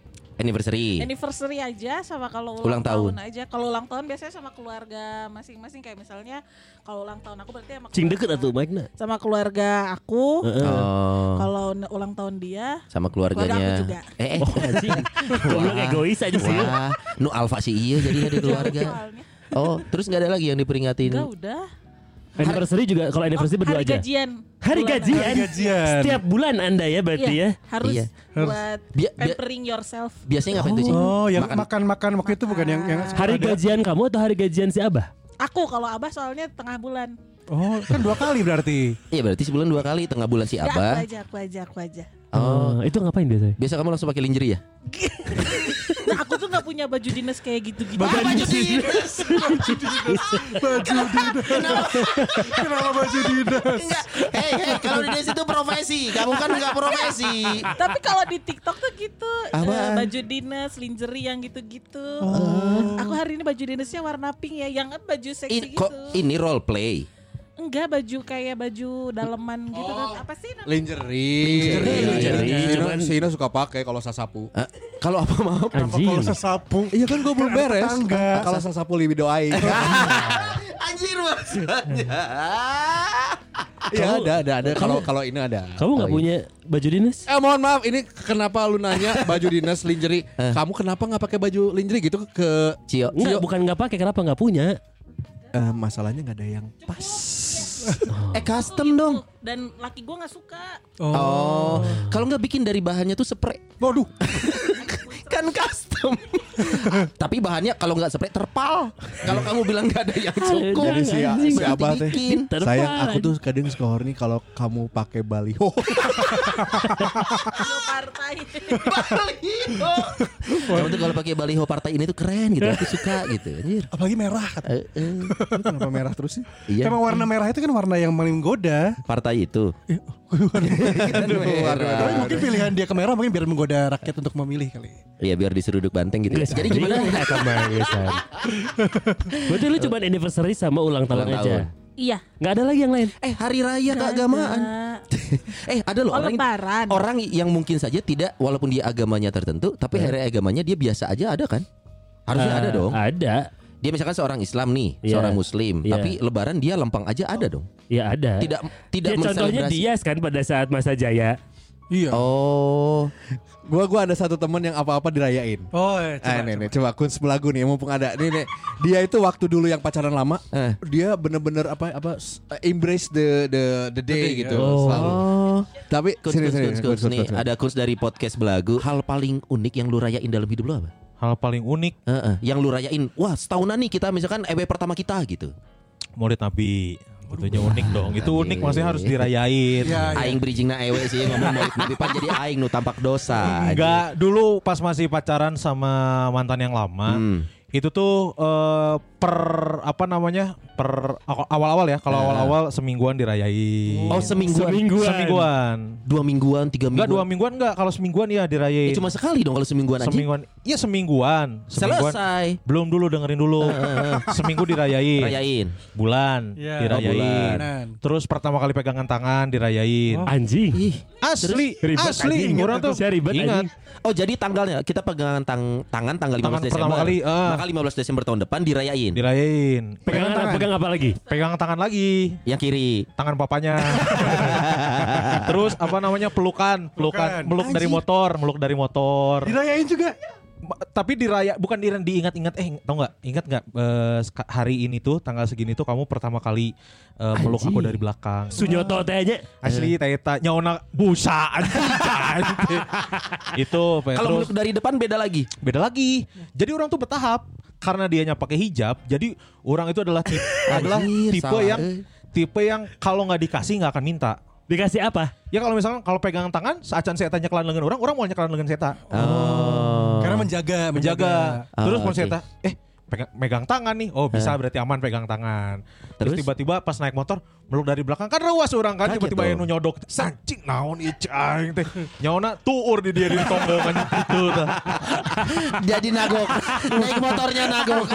Speaker 2: Anniversary
Speaker 3: Anniversary aja sama kalau
Speaker 2: Ulang
Speaker 3: ulang,
Speaker 2: tahun.
Speaker 3: tahun. aja. Kalau ulang tahun biasanya sama keluarga masing-masing kayak misalnya kalau ulang tahun aku berarti sama
Speaker 1: Cing
Speaker 3: keluarga-
Speaker 1: deket atuh Magna.
Speaker 3: Sama keluarga aku.
Speaker 2: Oh
Speaker 3: Kalau n- ulang tahun dia
Speaker 2: Sama
Speaker 3: Keluarga
Speaker 2: keluarganya
Speaker 3: aku juga.
Speaker 2: Eh, eh.
Speaker 1: Oh anjing. Goblok
Speaker 2: Wah.
Speaker 1: egois aja sih.
Speaker 2: Wah, nu alfa sih iya jadi ada keluarga.
Speaker 3: Soalnya.
Speaker 2: Oh, terus nggak ada lagi yang diperingatin.
Speaker 3: Enggak udah.
Speaker 1: Anniversary juga kalau anniversary
Speaker 3: Oh,
Speaker 1: berdua
Speaker 3: hari
Speaker 1: aja.
Speaker 3: gajian.
Speaker 1: Hari
Speaker 3: Bulanan.
Speaker 1: gajian.
Speaker 6: Hari gajian.
Speaker 1: Setiap bulan Anda ya berarti
Speaker 3: Iya,
Speaker 1: ya.
Speaker 3: harus
Speaker 2: Iya.
Speaker 3: buat
Speaker 2: Bia- bia-
Speaker 3: pampering yourself.
Speaker 2: Biasanya ngapain tuh sih?
Speaker 6: Oh, yang
Speaker 2: Makan.
Speaker 6: makan-makan waktu itu bukan yang yang
Speaker 1: Hari gajian kamu atau hari gajian si Abah?
Speaker 3: Aku kalau Abah soalnya tengah bulan.
Speaker 6: Oh, kan dua kali berarti.
Speaker 2: Iya berarti sebulan dua kali tengah bulan si
Speaker 3: Nggak, aku
Speaker 2: Abah.
Speaker 3: aja, aku aja, aku aja.
Speaker 1: Oh, itu ngapain biasanya?
Speaker 2: Biasa kamu langsung pakai lingerie ya?
Speaker 3: Nah, aku tuh nggak punya baju dinas kayak gitu-gitu.
Speaker 1: Badan
Speaker 2: Iya,
Speaker 3: Apa
Speaker 1: dinas.
Speaker 6: Baju dinas. Kenapa baju dinas?
Speaker 2: Enggak. Hei, hei, Eh, kalau di desa itu profesi, kamu kan enggak profesi.
Speaker 3: Tapi kalau di TikTok tuh gitu
Speaker 2: Apaan?
Speaker 3: eh, baju dinas, lingerie yang gitu-gitu. Aku hari ini baju dinasnya warna pink ya, yang baju seksi
Speaker 2: Oh. Ini
Speaker 3: gitu.
Speaker 2: kok ini role play.
Speaker 3: Enggak baju kayak baju daleman gitu kan. Apa sih namanya?
Speaker 4: Lingerie.
Speaker 2: Lingerie,
Speaker 4: Iya,
Speaker 1: lingerie.
Speaker 4: iya. Sino-
Speaker 1: Cuman-
Speaker 4: Sino suka pakai kalau sasapu.
Speaker 2: Eh, kalau apa maaf
Speaker 6: Kenapa kalau sesapu?
Speaker 4: Iya kan gue belum beres.
Speaker 6: Tetangga.
Speaker 4: Kalau sasapu libido aing.
Speaker 2: anjir maksudnya
Speaker 4: Iya ada ada ada. Kalau kalau ini ada.
Speaker 1: Kamu nggak
Speaker 2: Oh, iya.
Speaker 1: punya baju dinas?
Speaker 4: Eh mohon maaf ini kenapa lu nanya baju dinas lingerie? Kamu kenapa nggak pakai baju lingerie gitu ke
Speaker 2: Cio
Speaker 1: Enggak, bukan nggak pakai. Kenapa nggak punya?
Speaker 4: Eh, masalahnya nggak ada yang pas.
Speaker 2: eh custom dong
Speaker 3: Dan laki gue nggak suka.
Speaker 2: oh kalau nggak bikin dari bahannya tuh spray
Speaker 6: Waduh.
Speaker 2: kan custom tapi bahannya kalau nggak spray terpal kalau kamu bilang nggak ada yang cukup
Speaker 1: Jadi
Speaker 4: si-
Speaker 2: berarti
Speaker 4: si Abah teh.
Speaker 2: bikin.
Speaker 1: Terpal.
Speaker 4: Sayang aku tuh kadang suka horny kalau kamu pakai
Speaker 6: Oh,
Speaker 4: baliho.
Speaker 3: Ayo partai.
Speaker 2: baliho. Kamu tuh kalau pakai baliho partai ini tuh keren gitu, aku suka gitu. Anjir.
Speaker 6: Apalagi merah.
Speaker 2: Eh, eh,
Speaker 4: Kenapa merah terus sih?
Speaker 2: iya.
Speaker 6: Emang warna merah itu kan warna yang paling menggoda.
Speaker 2: partai itu.
Speaker 4: Aduh,
Speaker 6: Tapi mungkin pilihan dia ke merah mungkin biar menggoda rakyat untuk memilih kali.
Speaker 2: Iya biar diseruduk banteng gitu. Jadi gimana?
Speaker 1: Berarti lu cuma anniversary sama ulang tahun
Speaker 2: Ulang
Speaker 1: aja.
Speaker 2: tahun.
Speaker 3: iya.
Speaker 1: Nggak ada lagi yang lain.
Speaker 2: Eh hari raya keagamaan.
Speaker 3: Ada.
Speaker 2: eh ada loh
Speaker 3: Oh,
Speaker 2: orang
Speaker 3: lebaran.
Speaker 2: orang yang mungkin saja tidak walaupun dia agamanya tertentu, tapi hari raya agamanya dia biasa aja ada kan? Harusnya ada
Speaker 1: Eh,
Speaker 2: dong.
Speaker 1: Ada.
Speaker 2: Dia misalkan seorang Islam nih,
Speaker 1: Iya.
Speaker 2: seorang Muslim,
Speaker 1: Iya.
Speaker 2: tapi Lebaran dia lempeng aja ada dong.
Speaker 1: Ya ada.
Speaker 2: Tidak tidak
Speaker 1: Ya, contohnya
Speaker 2: menselebrasi.
Speaker 1: Dias kan pada saat masa jaya.
Speaker 6: Iya.
Speaker 2: Oh,
Speaker 4: Gua gua ada satu teman yang apa-apa dirayain.
Speaker 6: Oh, eh,
Speaker 4: Ah,
Speaker 6: coba.
Speaker 4: nih, nih, coba kun sebelagu nih mumpung ada. Nih, nih. Dia itu waktu dulu yang pacaran lama,
Speaker 2: Eh.
Speaker 4: dia bener-bener apa apa s- eh, embrace the the the day gitu selalu.
Speaker 2: oh.
Speaker 4: Tapi
Speaker 2: Kuns,
Speaker 4: sini
Speaker 2: kuns,
Speaker 4: sini
Speaker 2: kuns,
Speaker 4: kun,
Speaker 2: kuns, nih ada kuns dari podcast belagu. Hal paling unik yang lu rayain dalam hidup lu apa?
Speaker 7: Hal paling unik
Speaker 2: Heeh, yang lu rayain, wah setahunan nih kita misalkan EW pertama kita gitu.
Speaker 7: Murid Nabi Tentunya unik dong Itu
Speaker 2: Nabi.
Speaker 7: unik maksudnya harus dirayain
Speaker 6: Iya.
Speaker 2: Aing bridging na EW sih ngomong mulut Nabi pan jadi aing nu tampak dosa.
Speaker 7: Enggak Dulu pas masih pacaran sama mantan yang lama
Speaker 2: Hmm.
Speaker 7: Itu tuh eh, per apa namanya per awal-awal ya kalau awal-awal semingguan
Speaker 2: Iya.
Speaker 7: dirayain
Speaker 2: Oh semingguan.
Speaker 1: Semingguan.
Speaker 7: semingguan
Speaker 2: Dua mingguan, tiga
Speaker 7: enggak
Speaker 2: mingguan.
Speaker 7: dua mingguan enggak kalau semingguan ya dirayain
Speaker 2: Eh, cuma sekali dong kalau semingguan aja.
Speaker 7: semingguan iya semingguan semingguan
Speaker 2: Selesai. Eh,
Speaker 7: belum dulu dengerin dulu seminggu dirayain
Speaker 2: Rayain.
Speaker 7: bulan
Speaker 6: Iya.
Speaker 7: dirayain
Speaker 2: Oh,
Speaker 6: bulanan.
Speaker 7: terus pertama kali pegangan tangan
Speaker 1: Oh.
Speaker 7: dirayain
Speaker 1: Anjing.
Speaker 2: Ih.
Speaker 7: asli
Speaker 1: Ribet,
Speaker 7: asli
Speaker 1: anjing.
Speaker 7: orang tuh
Speaker 1: Saya ribet,
Speaker 7: ingat
Speaker 2: Oh jadi tanggalnya kita pegangan tang- tangan tanggal 15
Speaker 7: Tangan
Speaker 2: Desember.
Speaker 7: pertama kali, Iya. ah.
Speaker 2: Maka 15 Desember tahun depan dirayain.
Speaker 7: dirayain
Speaker 1: Pegang, pegang apa lagi?
Speaker 7: pegang tangan lagi
Speaker 2: yang kiri.
Speaker 7: tangan papanya terus apa namanya pelukan pelukan meluk dari motor meluk dari motor
Speaker 6: Dirayain juga.
Speaker 7: Ma- tapi diraya bukan dirayain diingat-ingat eh tau nggak ingat nggak eh, ska- hari ini tuh tanggal segini tuh kamu pertama kali eh, meluk aku dari belakang
Speaker 2: Nah.
Speaker 1: Sunyoto teh aja.
Speaker 7: asli Taeta nyawana busa anjing, cantik. itu Pak,
Speaker 2: Kalau menurut
Speaker 7: terus
Speaker 2: dari depan beda lagi.
Speaker 7: beda lagi jadi orang tuh bertahap karena dianya pakai hijab jadi orang itu adalah tipe, adalah
Speaker 2: Anjir,
Speaker 7: tipe
Speaker 2: salah,
Speaker 7: yang
Speaker 2: eh.
Speaker 7: tipe yang kalau nggak dikasih nggak akan minta
Speaker 1: Dikasih apa?
Speaker 7: Ya kalau misalnya kalau pegang tangan, seacan saya tanya kelan lengan orang, orang mau nyekelan lengan seta. Oh,
Speaker 2: Oh.
Speaker 6: Karena menjaga, menjaga.
Speaker 7: Menjaga. Terus
Speaker 2: Ah,
Speaker 7: mau
Speaker 2: oke. Ah.
Speaker 7: seta, eh pegang, megang tangan nih. Oh, bisa berarti aman pegang tangan.
Speaker 2: Terus?
Speaker 7: Terus tiba-tiba pas naik motor meluk dari belakang kan ruas orang kan
Speaker 2: Kaget
Speaker 7: tiba-tiba
Speaker 2: dong.
Speaker 7: yang nyodok. Sancing naon ieu aing teh. Nyaona tuur di dia di tonggongan gitu tah.
Speaker 2: Jadi nagok. Naik motornya nagok.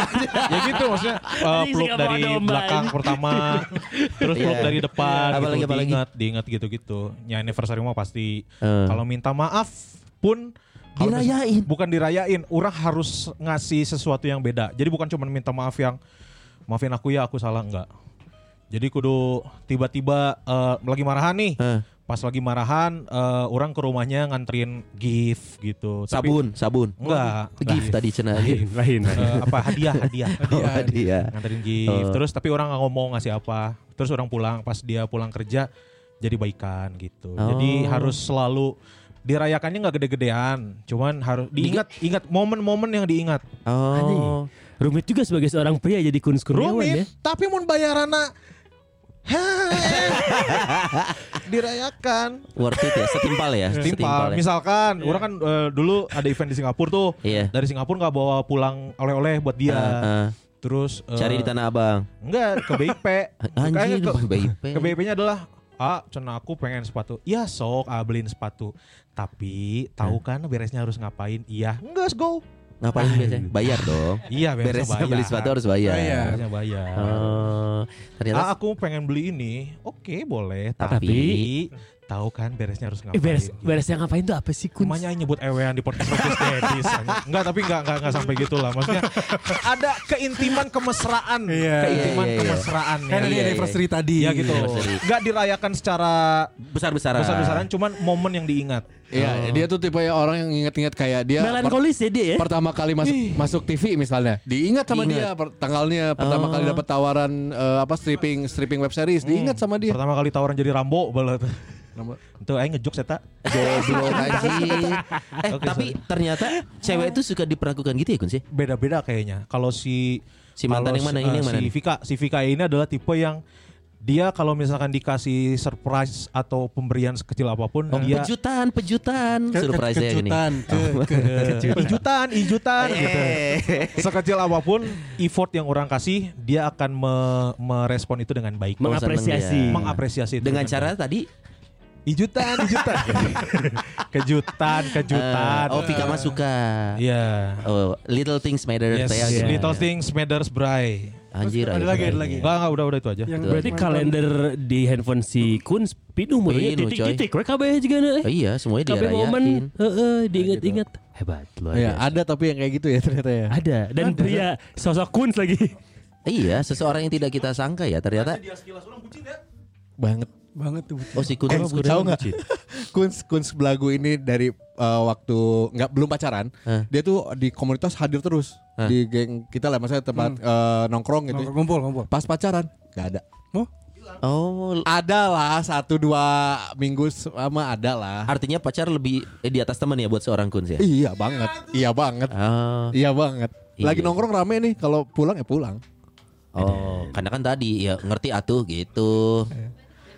Speaker 7: Ya gitu maksudnya eh,
Speaker 1: Anjing,
Speaker 7: peluk
Speaker 1: suka
Speaker 7: dari
Speaker 1: bawa domba,
Speaker 7: belakang
Speaker 1: anjing.
Speaker 7: pertama, terus peluk
Speaker 2: Iya.
Speaker 7: dari depan,
Speaker 2: Apa
Speaker 7: gitu,
Speaker 2: lagi, apa lagi?
Speaker 7: diingat, diingat gitu-gitu. Ya anniversary mah pasti.
Speaker 2: Eh.
Speaker 7: Kalau minta maaf pun kalau mis-
Speaker 2: Dirayain.
Speaker 7: bukan dirayain, orang harus ngasih sesuatu yang beda. Jadi bukan cuma minta maaf yang maafin aku ya aku salah enggak. Jadi kudu tiba-tiba eh, lagi marahan nih.
Speaker 2: Eh.
Speaker 7: Pas lagi marahan eh, orang ke rumahnya nganterin gift gitu. Tapi-
Speaker 2: Sabun, sabun.
Speaker 7: Enggak. Nah,
Speaker 2: Gift tadi cenah.
Speaker 1: Lain, lain.
Speaker 7: Eh, apa hadiah hadiah
Speaker 2: Oh, hadiah.
Speaker 7: nganterin gift terus tapi orang nggak ngomong ngasih apa terus orang pulang pas dia pulang kerja jadi baikan gitu
Speaker 2: Oh.
Speaker 7: jadi harus selalu dirayakannya nggak gede-gedean cuman harus diingat ingat momen-momen yang diingat
Speaker 2: Oh.
Speaker 1: Rumit juga sebagai seorang pria jadi kuns kurniawan ya.
Speaker 7: rumit tapi mau bayarana heh, dirayakan
Speaker 2: Worth it ya, setimpal ya.
Speaker 7: timpal
Speaker 2: ya.
Speaker 7: misalkan orang kan eh, dulu ada event di Singapura tuh
Speaker 2: Iya.
Speaker 7: dari Singapura nggak bawa pulang oleh-oleh buat dia
Speaker 2: Heeh.
Speaker 7: terus eh,
Speaker 2: Cari di Tanah Abang.
Speaker 7: Enggak, ke BIP.
Speaker 2: Anjir,
Speaker 7: Kayaknya
Speaker 2: ke BIP.
Speaker 7: Ke BIP-nya adalah Ah, cuna aku pengen sepatu. Ya sok, ah beliin sepatu. Tapi tahu kan beresnya harus ngapain? Iya, enggak, let's go.
Speaker 2: Ngapain biasanya? Bayar dong.
Speaker 7: Iya,
Speaker 2: Beres
Speaker 7: biasanya
Speaker 2: beli sepatu harus bayar.
Speaker 6: Bayar.
Speaker 7: Biasanya bayar.
Speaker 1: Eh,
Speaker 2: Oh,
Speaker 7: Ah,
Speaker 2: ternyata
Speaker 7: aku pengen beli ini. Oke, boleh.
Speaker 2: Tapi-
Speaker 7: Tapi, tahu kan beresnya harus ngapain?
Speaker 1: Eh, beres,
Speaker 7: gitu.
Speaker 1: beresnya ngapain tuh apa sih kun?
Speaker 7: Emangnya nyebut ewean di podcast podcast dedis. Enggak, tapi enggak enggak enggak sampai gitu lah. Maksudnya ada keintiman kemesraan,
Speaker 6: Iya.
Speaker 7: keintiman
Speaker 2: Iya, iya, iya.
Speaker 7: kemesraan
Speaker 6: Kan
Speaker 2: Iya,
Speaker 6: ini
Speaker 2: iya.
Speaker 6: anniversary tadi.
Speaker 7: Ya gitu. Enggak dirayakan secara
Speaker 2: besar-besaran.
Speaker 7: besar-besaran, cuman momen yang diingat.
Speaker 4: Iya, dia tuh tipe orang yang inget-inget kayak dia
Speaker 1: Melankolis ya dia ya.
Speaker 4: pertama kali masuk masuk TV misalnya diingat sama dia per- tanggalnya pertama kali dapat tawaran eh, apa stripping stripping web series diingat sama dia
Speaker 7: Pertama kali tawaran jadi Rambo, belet.
Speaker 4: Nama-
Speaker 7: Itu aing ngejok eta.
Speaker 2: Goblok anjing. Eh,
Speaker 7: Oke,
Speaker 2: tapi ternyata cewek itu suka diperlakukan gitu ya, Kun sih?
Speaker 7: Beda-beda kayaknya. Kalau si
Speaker 2: Si mantan
Speaker 7: kalau
Speaker 2: yang mana,
Speaker 7: si-
Speaker 2: ini
Speaker 7: eh,
Speaker 2: yang mana
Speaker 7: Si
Speaker 2: nih?
Speaker 7: Vika, si Vika ini adalah tipe yang dia kalau misalkan dikasih surprise atau pemberian sekecil apapun
Speaker 2: Oh,
Speaker 7: dia
Speaker 2: pejutan, pejutan. Surprise ya ini.
Speaker 6: Kejutan. Ke, ke,
Speaker 7: ijutan, ijutan
Speaker 2: Eh.
Speaker 7: gitu. Sekecil apapun effort yang orang kasih, dia akan me- merespon itu dengan baik.
Speaker 2: Meng-
Speaker 1: Mengapresiasi.
Speaker 2: seneng dia.
Speaker 7: Mengapresiasi itu
Speaker 2: Dengan cara tadi eh,
Speaker 7: ijutan, ijutan. kejutan, kejutan.
Speaker 2: eh, Oh, Vika mah suka.
Speaker 7: Iya.
Speaker 2: Oh, little things matter
Speaker 7: Yes,
Speaker 2: saya
Speaker 1: gitu.
Speaker 7: little things matters, Bray.
Speaker 2: Anjir.
Speaker 6: Ada lagi,
Speaker 2: iya.
Speaker 6: ada lagi.
Speaker 7: Enggak, enggak, udah, udah itu aja.
Speaker 6: Yang
Speaker 1: Berarti kalender di handphone si Kun pinu mulai
Speaker 2: Pinu, coy.
Speaker 1: titik-titik rek kabeh juga na,
Speaker 2: Oh,
Speaker 1: eh.
Speaker 2: iya, Nah, semuanya
Speaker 1: Kabeh momen
Speaker 2: dirayain.
Speaker 1: heeh diingat-ingat.
Speaker 2: gitu.
Speaker 1: Hebat luar
Speaker 4: Iya,
Speaker 1: biasa.
Speaker 4: ada tapi yang kayak gitu ya ternyata ya
Speaker 1: Ada dan pria sosok Kun lagi.
Speaker 2: Iya, seseorang yang tidak kita sangka ya ternyata.
Speaker 4: banget
Speaker 6: banget tuh.
Speaker 2: Oh, si Kun.
Speaker 4: Eh, tahu nggak Kunz Kunz belagu ini dari eh, waktu nggak belum pacaran
Speaker 2: Hah.
Speaker 4: dia tuh di komunitas hadir terus
Speaker 2: Hah.
Speaker 4: di geng kita lah maksudnya tempat eh, nongkrong gitu
Speaker 6: Nongkrong, Ngumpul, ngumpul.
Speaker 4: pas pacaran nggak ada
Speaker 6: Oh,
Speaker 2: Oh,
Speaker 4: ada lah satu dua minggu sama ada lah
Speaker 2: artinya pacar lebih eh, di atas teman ya buat seorang Kun ya.
Speaker 4: iya banget iya banget
Speaker 2: Ah,
Speaker 4: Iya banget. Lagi
Speaker 2: Iya.
Speaker 4: nongkrong rame nih. Kalau pulang ya pulang.
Speaker 2: Oh, karena kan tadi ya ngerti atuh gitu.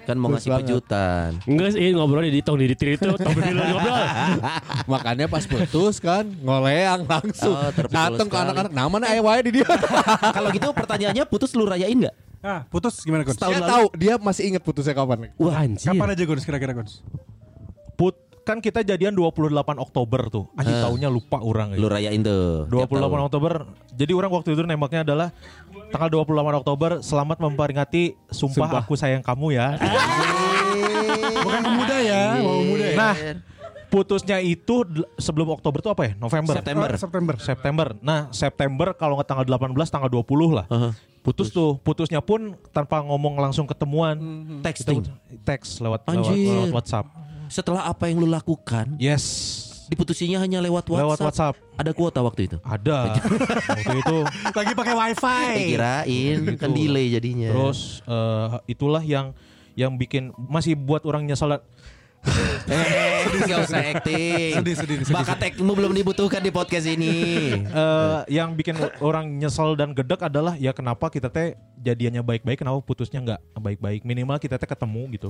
Speaker 2: Kan mau
Speaker 4: Terus
Speaker 2: ngasih
Speaker 4: banget.
Speaker 2: pejutan.
Speaker 1: Enggak sih ngobrolnya di tong di diri itu, tong di ngobrol.
Speaker 4: Makanya pas putus kan ngoleang langsung.
Speaker 2: Oh, terpukul
Speaker 4: Dateng ke
Speaker 2: sekali.
Speaker 4: anak-anak. Nama mana ayah wae di dia.
Speaker 2: Kalau gitu pertanyaannya putus lu rayain nggak?
Speaker 6: ah, putus gimana Gun?
Speaker 4: dia tahu dia masih inget putusnya kapan.
Speaker 1: Wah anjir.
Speaker 6: Kapan aja Gun kira-kira Gun?
Speaker 7: Put kan kita jadian 28 Oktober tuh. Anjing tahunnya lupa orang. ya.
Speaker 2: Lu rayain tuh. tiap
Speaker 7: 28
Speaker 2: tahun.
Speaker 7: Oktober. Jadi orang waktu itu nembaknya adalah tanggal 28 Oktober selamat memperingati sumpah, aku sayang kamu ya.
Speaker 6: Bukan pemuda ya, wow muda ya.
Speaker 7: nah, putusnya itu del- sebelum Oktober itu apa ya? November.
Speaker 2: September.
Speaker 7: Oh, September. September. Nah, September kalau nggak tanggal 18 tanggal 20 lah. Putus Hmm. tuh, putusnya pun tanpa ngomong langsung ketemuan,
Speaker 2: Texting.
Speaker 7: Kita- teks lewat, lewat
Speaker 2: Anjir.
Speaker 7: lewat WhatsApp.
Speaker 2: Setelah apa yang lu lakukan,
Speaker 7: Yes.
Speaker 2: diputusinya hanya lewat WhatsApp.
Speaker 7: Lewat WhatsApp.
Speaker 2: Ada kuota waktu itu.
Speaker 7: Ada. Waktu itu
Speaker 6: Lagi pakai wifi.
Speaker 2: Dikirain Eh, kan delay jadinya.
Speaker 7: Terus eh, itulah yang yang bikin masih buat orang nyesal.
Speaker 2: eh, gak usah acting.
Speaker 6: Sedih, sedih, sedih.
Speaker 2: Bakat actingmu belum dibutuhkan di podcast ini. Iya.
Speaker 7: Eh, yang bikin orang nyesel dan gedek adalah ya kenapa kita teh jadiannya baik-baik kenapa putusnya nggak baik-baik minimal kita teh ketemu gitu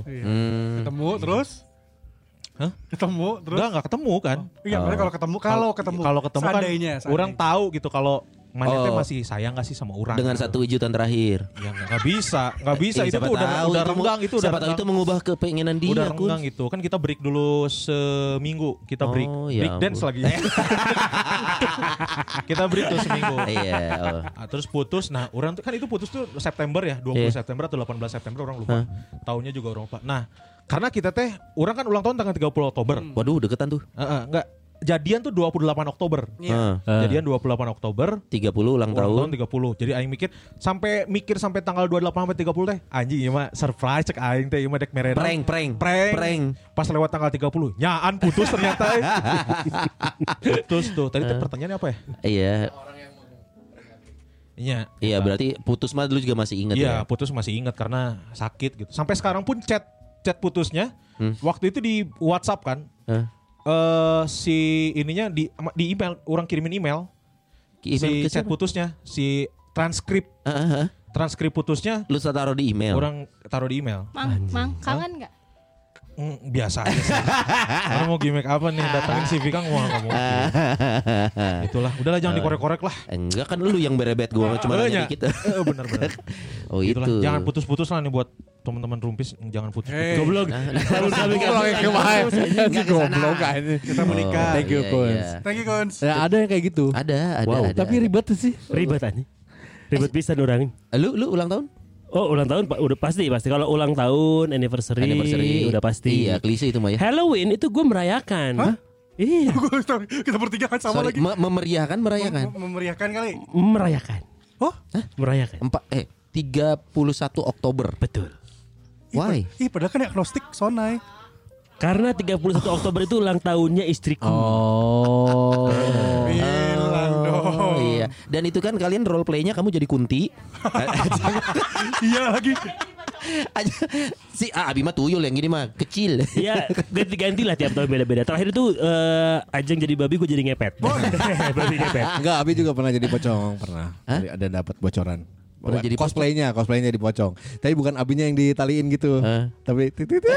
Speaker 6: Ketemu terus?
Speaker 7: Hah?
Speaker 6: Ketemu terus?
Speaker 7: nggak nggak ketemu kan
Speaker 6: Iya, maksudnya kalau ketemu kalau ketemu
Speaker 7: kalau ketemu kan
Speaker 6: seandainya, seandainya.
Speaker 7: orang tahu gitu kalau mana teh
Speaker 2: Oh.
Speaker 7: masih sayang nggak sih sama orang
Speaker 2: Dengan
Speaker 7: Gitu.
Speaker 2: satu ujutan terakhir.
Speaker 7: ya nggak nggak bisa nggak bisa
Speaker 2: Eh,
Speaker 7: itu
Speaker 2: siapa
Speaker 7: tuh udah
Speaker 2: tahu
Speaker 7: udah
Speaker 2: itu mu-
Speaker 7: renggang itu udah
Speaker 2: siapa tahu itu
Speaker 7: renggang.
Speaker 2: mengubah kepengenan dia
Speaker 7: udah
Speaker 2: Iya, Kun.
Speaker 7: renggang itu kan kita break dulu seminggu kita break
Speaker 2: Oh, ya
Speaker 7: break dance
Speaker 2: ampun.
Speaker 7: lagi kita break tuh seminggu
Speaker 2: Iya. oh.
Speaker 7: Ah, terus putus. Nah, orang tuh kan itu putus tuh September ya, 20
Speaker 2: Iya.
Speaker 7: September atau 18 September orang lupa. Tahunnya juga orang lupa. Nah, karena kita teh orang kan ulang tahun tanggal 30 Oktober.
Speaker 2: Waduh deketan tuh.
Speaker 7: Eh, eh, enggak. Jadian tuh 28 Oktober.
Speaker 2: Heeh.
Speaker 7: Jadian 28 Oktober.
Speaker 2: 30 ulang
Speaker 7: Ulang
Speaker 2: tahun.
Speaker 7: tahun 30. Jadi aing mikir sampai mikir sampai tanggal 28 sampai 30 teh anjing ieu mah surprise cek aing teh ieu mah dek merena.
Speaker 2: Prank, prank,
Speaker 7: prank.
Speaker 2: prank.
Speaker 7: Pas lewat tanggal 30, nyaan putus ternyata. eh. putus tuh. Tadi teh
Speaker 2: Eh.
Speaker 7: pertanyaannya apa ya?
Speaker 2: Iya.
Speaker 7: Iya.
Speaker 2: Iya berarti putus mah dulu juga masih ingat ya.
Speaker 7: Iya, putus masih ingat karena sakit gitu. Sampai sekarang pun chat chat putusnya
Speaker 2: Hmm.
Speaker 7: waktu itu di WhatsApp kan.
Speaker 2: Hah?
Speaker 7: Eh si ininya di ama- di email orang kirimin email,
Speaker 2: Email
Speaker 7: si
Speaker 2: ke
Speaker 7: chat
Speaker 2: siapa? Ah,
Speaker 7: putusnya, si transkrip
Speaker 2: Heeh, heeh.
Speaker 7: transkrip putusnya
Speaker 2: Lu taruh di email.
Speaker 7: orang taruh di email.
Speaker 8: Mang, mang kangen nggak?
Speaker 7: Mm, biasa aja sih. Orang mau gimmick apa nih? Datangin si Vika mau nggak mungkin.
Speaker 2: Eh.
Speaker 7: Nah, Itulah, udahlah jangan dikorek-korek lah.
Speaker 2: Enggak kan lu yang berebet gua cuma
Speaker 7: Lu
Speaker 2: nanya
Speaker 7: nya.
Speaker 2: dikit.
Speaker 7: Eh, Bener-bener.
Speaker 2: Oh itu.
Speaker 7: Itulah, Gitu jangan putus-putus lah nih buat teman-teman rumpis, jangan putus.
Speaker 6: Hey.
Speaker 1: Goblok.
Speaker 2: Nah,
Speaker 1: Baru kami
Speaker 4: Goblok ya, kemarin. Si goblok aja.
Speaker 6: Kita menikah.
Speaker 4: Thank you,
Speaker 2: iya,
Speaker 4: Kun.
Speaker 2: iya.
Speaker 6: Thank you, Kons.
Speaker 4: Ya ada yang kayak gitu.
Speaker 2: Ada, ada,
Speaker 1: Wow.
Speaker 2: ada.
Speaker 4: Tapi ribet sih.
Speaker 1: Ribet aja. Ribet bisa orang.
Speaker 2: Lu lu ulang tahun?
Speaker 1: Oh ulang tahun pak udah pasti pasti kalau ulang tahun anniversary, udah pasti.
Speaker 2: Iya, klise itu mah ya.
Speaker 1: Halloween itu gue merayakan. Iya
Speaker 6: Kita bertiga kan sama
Speaker 2: Sorry, Iya kan?
Speaker 6: lagi.
Speaker 2: me- memeriahkan merayakan.
Speaker 6: Mem- Memeriahkan kali.
Speaker 1: merayakan
Speaker 6: Oh,
Speaker 1: merayakan.
Speaker 2: Empat eh 31 Oktober.
Speaker 1: Betul.
Speaker 2: Why?
Speaker 6: ih padahal kan agnostik sonai.
Speaker 1: Karena 31 Oktober itu ulang tahunnya istriku.
Speaker 4: Oh.
Speaker 6: Bilang
Speaker 2: Oh,
Speaker 6: dong.
Speaker 2: iya. Dan itu kan kalian role playnya kamu jadi kunti.
Speaker 6: Iya lagi.
Speaker 2: Aja- si ah, Abi mah tuyul yang gini mah kecil.
Speaker 1: Iya, ganti-ganti lah tiap tahun beda-beda. Terakhir itu eh, ajeng jadi babi, gue jadi ngepet. babi ngepet.
Speaker 4: Enggak, Abi juga pernah jadi pocong, pernah. Ada- Ada dapat bocoran.
Speaker 2: Pernah jadi
Speaker 4: cosplaynya, cosplaynya di pocong. Tapi bukan abinya yang ditaliin gitu.
Speaker 2: Hah?
Speaker 4: Tapi titit.